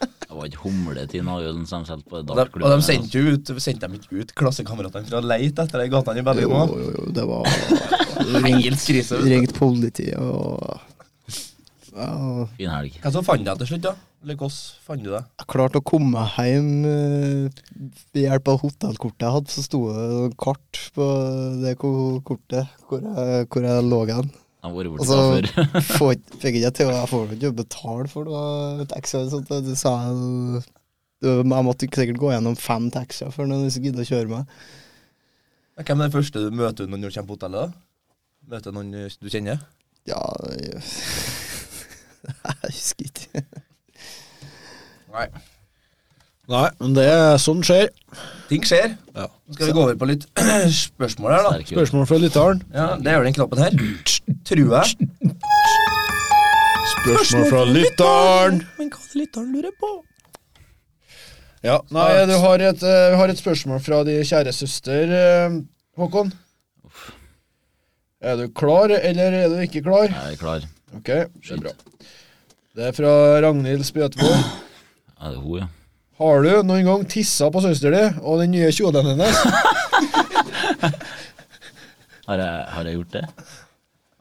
Speaker 2: Ja.
Speaker 5: Det var ikke humletid nå, Jøden, som de solgte på
Speaker 1: Og de, og de
Speaker 5: dartklubben.
Speaker 1: sendte jo ut, sendte de ikke ut klassekameratene for å leite etter deg i gatene i Berlin
Speaker 2: Jo,
Speaker 1: òg?
Speaker 2: jo, jo, det var
Speaker 1: Helt krise. vet du.
Speaker 2: ringt politi og ja,
Speaker 5: Fin helg.
Speaker 1: Hvem som fant deg til slutt, da? Eller hvordan fant du deg?
Speaker 2: Jeg klarte å komme meg hjem eh, ved hjelp av hotellkortet jeg hadde. Så sto det noen kart på det ko- kortet hvor jeg, hvor jeg lå hen.
Speaker 5: De har vært
Speaker 2: Og
Speaker 5: borte
Speaker 1: Altså,
Speaker 2: så
Speaker 5: fra før.
Speaker 2: får ikke- fikk jeg ikke til, og jeg får ikke betale for noe taxi eller sånt. og Det sa jeg det- Jeg måtte ikke sikkert gå gjennom fem taxier før noen som gidder å kjøre meg.
Speaker 1: Ja, Hvem er det første du møter når du kommer på hotellet? da? Møter noen eh, du kjenner?
Speaker 2: Ja Jeg jeg husker ikke.
Speaker 1: Nei.
Speaker 4: Nei, men det er sånn skjer.
Speaker 1: Ting skjer.
Speaker 4: Ja.
Speaker 1: Nå skal vi gå over på litt spørsmål her, da.
Speaker 5: Sterk jul.
Speaker 4: Spørsmål fra lytteren.
Speaker 1: Ja, Det gjør den knappen her. Tror jeg.
Speaker 4: Spørsmål fra lytteren.
Speaker 1: Men hva lytteren lurer på?
Speaker 4: Ja, nei, du har et, eh, vi har et spørsmål fra de kjære søster, eh, Håkon. Er du klar, eller er du ikke klar?
Speaker 5: Jeg er klar.
Speaker 4: Ok, det er bra. Det er fra Ragnhild Spjøtvold.
Speaker 5: Ja, det er hun, ja.
Speaker 4: Har du noen gang tissa på søster di og den nye kjolen hennes?
Speaker 5: Har jeg, har jeg gjort det?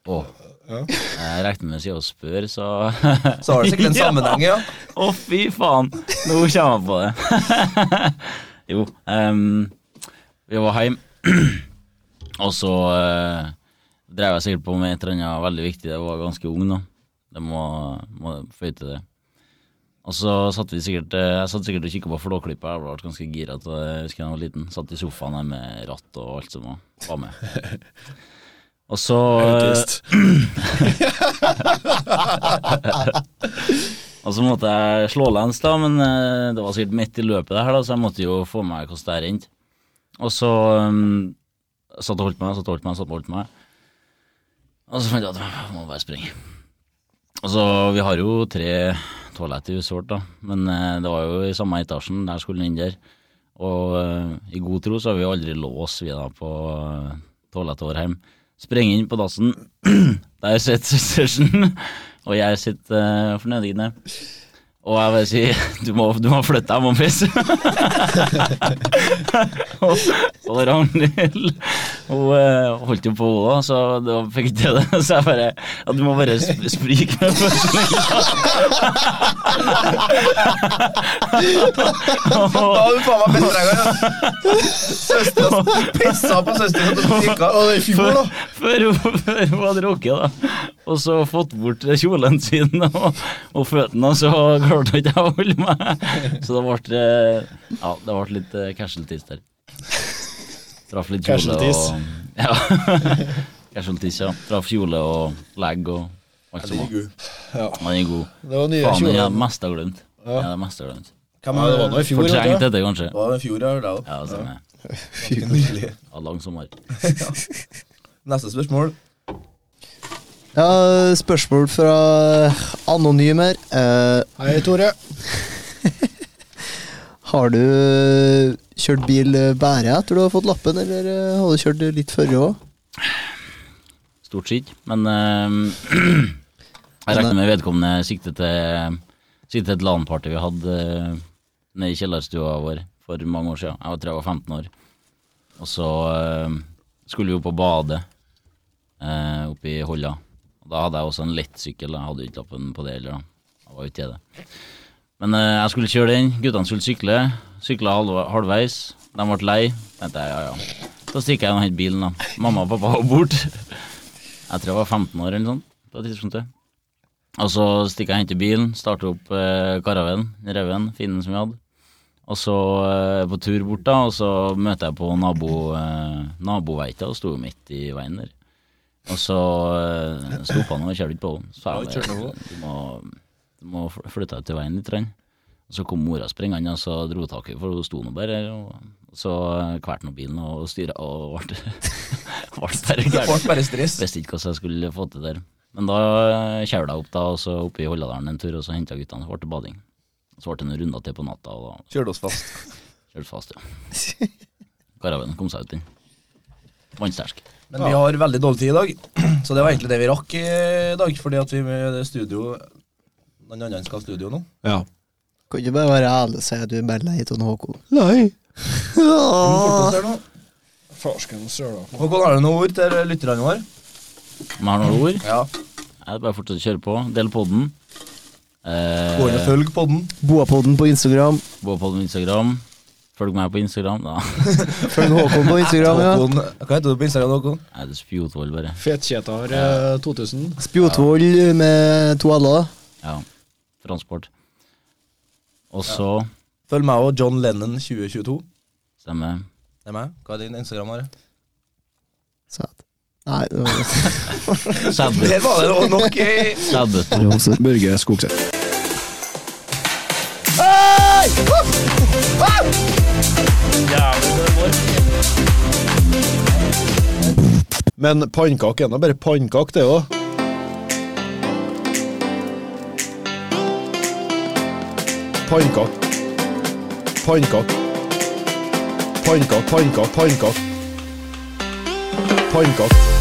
Speaker 5: Å, Jeg regnet med å si å spørre, så
Speaker 1: Så har det sikkert en sammenheng, ja.
Speaker 5: Å, fy faen! Nå kommer jeg på det. jo, em, vi var hjemme, og så eh, drev jeg sikkert på med et eller annet veldig viktig. Jeg var ganske ung nå. Det må, må føye til det. Og så satt vi sikkert eh, Jeg satt sikkert og kikka på Flåklypa. Jeg ble ganske gira da jeg husker jeg var liten. Satt i sofaen der med ratt og alt som var- var med. Og så eh,
Speaker 4: Autist.
Speaker 5: Og så måtte jeg slå lens, da, men eh, det var sikkert midt i løpet, det her da så jeg måtte jo få med meg hvordan det her endte. Og så um, satt og holdt meg, satt og holdt meg, satt og holdt meg. Og så fant jeg at jeg må bare springe. Og så, Vi har jo tre toalett i huset vårt, da, men eh, det var jo i samme etasjen. Der skulle den inn der. Og eh, i god tro så har vi jo aldri lås vi da på uh, toalettet vårt hjemme. Sprenger inn på dassen, der sitter søsteren, og jeg sitter uh, fornøyende. Og jeg bare sier du må, du må flytte deg, jeg må pisse. og, og Ragnhild hun eh, holdt jo på hodet, så det var, fikk ikke til det. Så jeg bare ja, Du må bare sp sprike med førsten.
Speaker 1: Da har du faen meg bestrenga, ja. Søstera pissa på søstera til strikka.
Speaker 4: Å, det er i fjor, da.
Speaker 5: Før, før, hun, før hun hadde rukket, da. Og så fått bort kjolen sin og, og føttene, og så klarte hun ikke å holde meg. Så det ble, eh, ja, det ble litt eh, casualties der. Traff litt kjole
Speaker 4: Casualties.
Speaker 5: og Ja. casualties, ja. Traff kjole og legg og alt som var. Han er god.
Speaker 4: Det var nye
Speaker 5: Faen, det er det
Speaker 4: kjolen.
Speaker 5: meste jeg har glemt. Ja, det meste jeg har glemt.
Speaker 4: Ja, det var nå i fjor. vet
Speaker 5: Fortrengt
Speaker 4: du.
Speaker 5: dette, kanskje.
Speaker 1: Det var i fjor, ja. det
Speaker 5: Ja, sånn er det.
Speaker 1: var nydelig.
Speaker 5: Ja, Lang sommer.
Speaker 1: Neste spørsmål.
Speaker 2: Ja, spørsmål fra anonym her. Eh,
Speaker 4: Hei, Tore.
Speaker 2: har du kjørt bil eh, bare etter du har fått lappen, eller eh, har du kjørt litt før òg?
Speaker 5: Stort sett, men eh, jeg regner med vedkommende siktet til, siktet til et LAN-party vi hadde eh, nede i kjellerstua vår for mange år siden. Jeg var- tror jeg var 15 år. Og så eh, skulle vi opp og bade eh, oppe i Holla. Og da hadde jeg også en lettsykkel, jeg hadde jo ikke lappen på det heller. da. Jeg var ute i det. Men eh, jeg skulle kjøre den, guttene skulle sykle. Sykla halv, halvveis, de ble lei. tenkte jeg, ja ja. Da stikker jeg og henter bilen, da. Mamma og pappa var borte. Jeg tror jeg var 15 år eller noe sånt på det tidspunktet. Og så stikker jeg og henter bilen, starter opp eh, Karaven, Reven, finnen som vi hadde. Og så eh, på tur bort, da, og så møter jeg på nabo, eh, naboveita, og sto jo midt i veien der. Og så eh, sto på han og kjørte ikke på han. Så jeg bare, du må, du må fl- flytte deg til veien litt. Rann. Og så kom mora springende, og så dro hun tak i for hun sto nå bare her. Og så eh, kvalte nå bilen og styra, og ble, ble bare
Speaker 1: Det
Speaker 5: gæren.
Speaker 1: ble bare stress.
Speaker 5: Visste ikke hva jeg skulle få til der. Men da kjæla jeg opp da, og så oppe i Holladalen en tur, og så henta guttene. Så ble det bading. Så ble det noen runder til på natta, og da
Speaker 1: Kjørte oss fast.
Speaker 5: kjørte fast, ja. Karaven kom seg ut, den. Vannsterk.
Speaker 1: Men vi har veldig dårlig tid i dag, så det var egentlig det vi rakk i dag. Fordi at vi med studio Noen andre skal ha studio nå.
Speaker 4: Ja.
Speaker 2: Kan ikke bare være ærlig og si at du er bare lei av Håkon.
Speaker 4: Nei.
Speaker 1: Vi må forte oss her nå.
Speaker 4: Farsken søla.
Speaker 1: Håkon, har du noen ord til lytterne våre?
Speaker 5: Om jeg har noen ord,
Speaker 1: Ja.
Speaker 5: er det bare å fortsette å kjøre på. Del podden. Eh,
Speaker 1: Gå inn og følg podden.
Speaker 2: Boapodden på Instagram.
Speaker 5: gå på den Instagram. Følg meg på Instagram. Da
Speaker 2: Følg Håkon på Instagram, ja.
Speaker 1: Håkon, hva heter du på Instagram, Håkon?
Speaker 5: er det spjotvoll, bare.
Speaker 4: Fetkjetar eh, 2000.
Speaker 2: Spjotvoll med to l-er.
Speaker 5: Ja. Transport. Og så
Speaker 1: Følg meg og John Lennon 2022.
Speaker 5: stemmer
Speaker 1: Det er meg. Hva er din Instagram? Are?
Speaker 2: Søt. Nei, det var
Speaker 5: Sædbø-
Speaker 1: Der var det også nok i
Speaker 5: Sædbøtter.
Speaker 4: Børge Skogseth. Men pannkake er nå bare pannkake, det òg. Pannkake. Pannkake. Pannkake, pannkake, pannkake. Pannkake.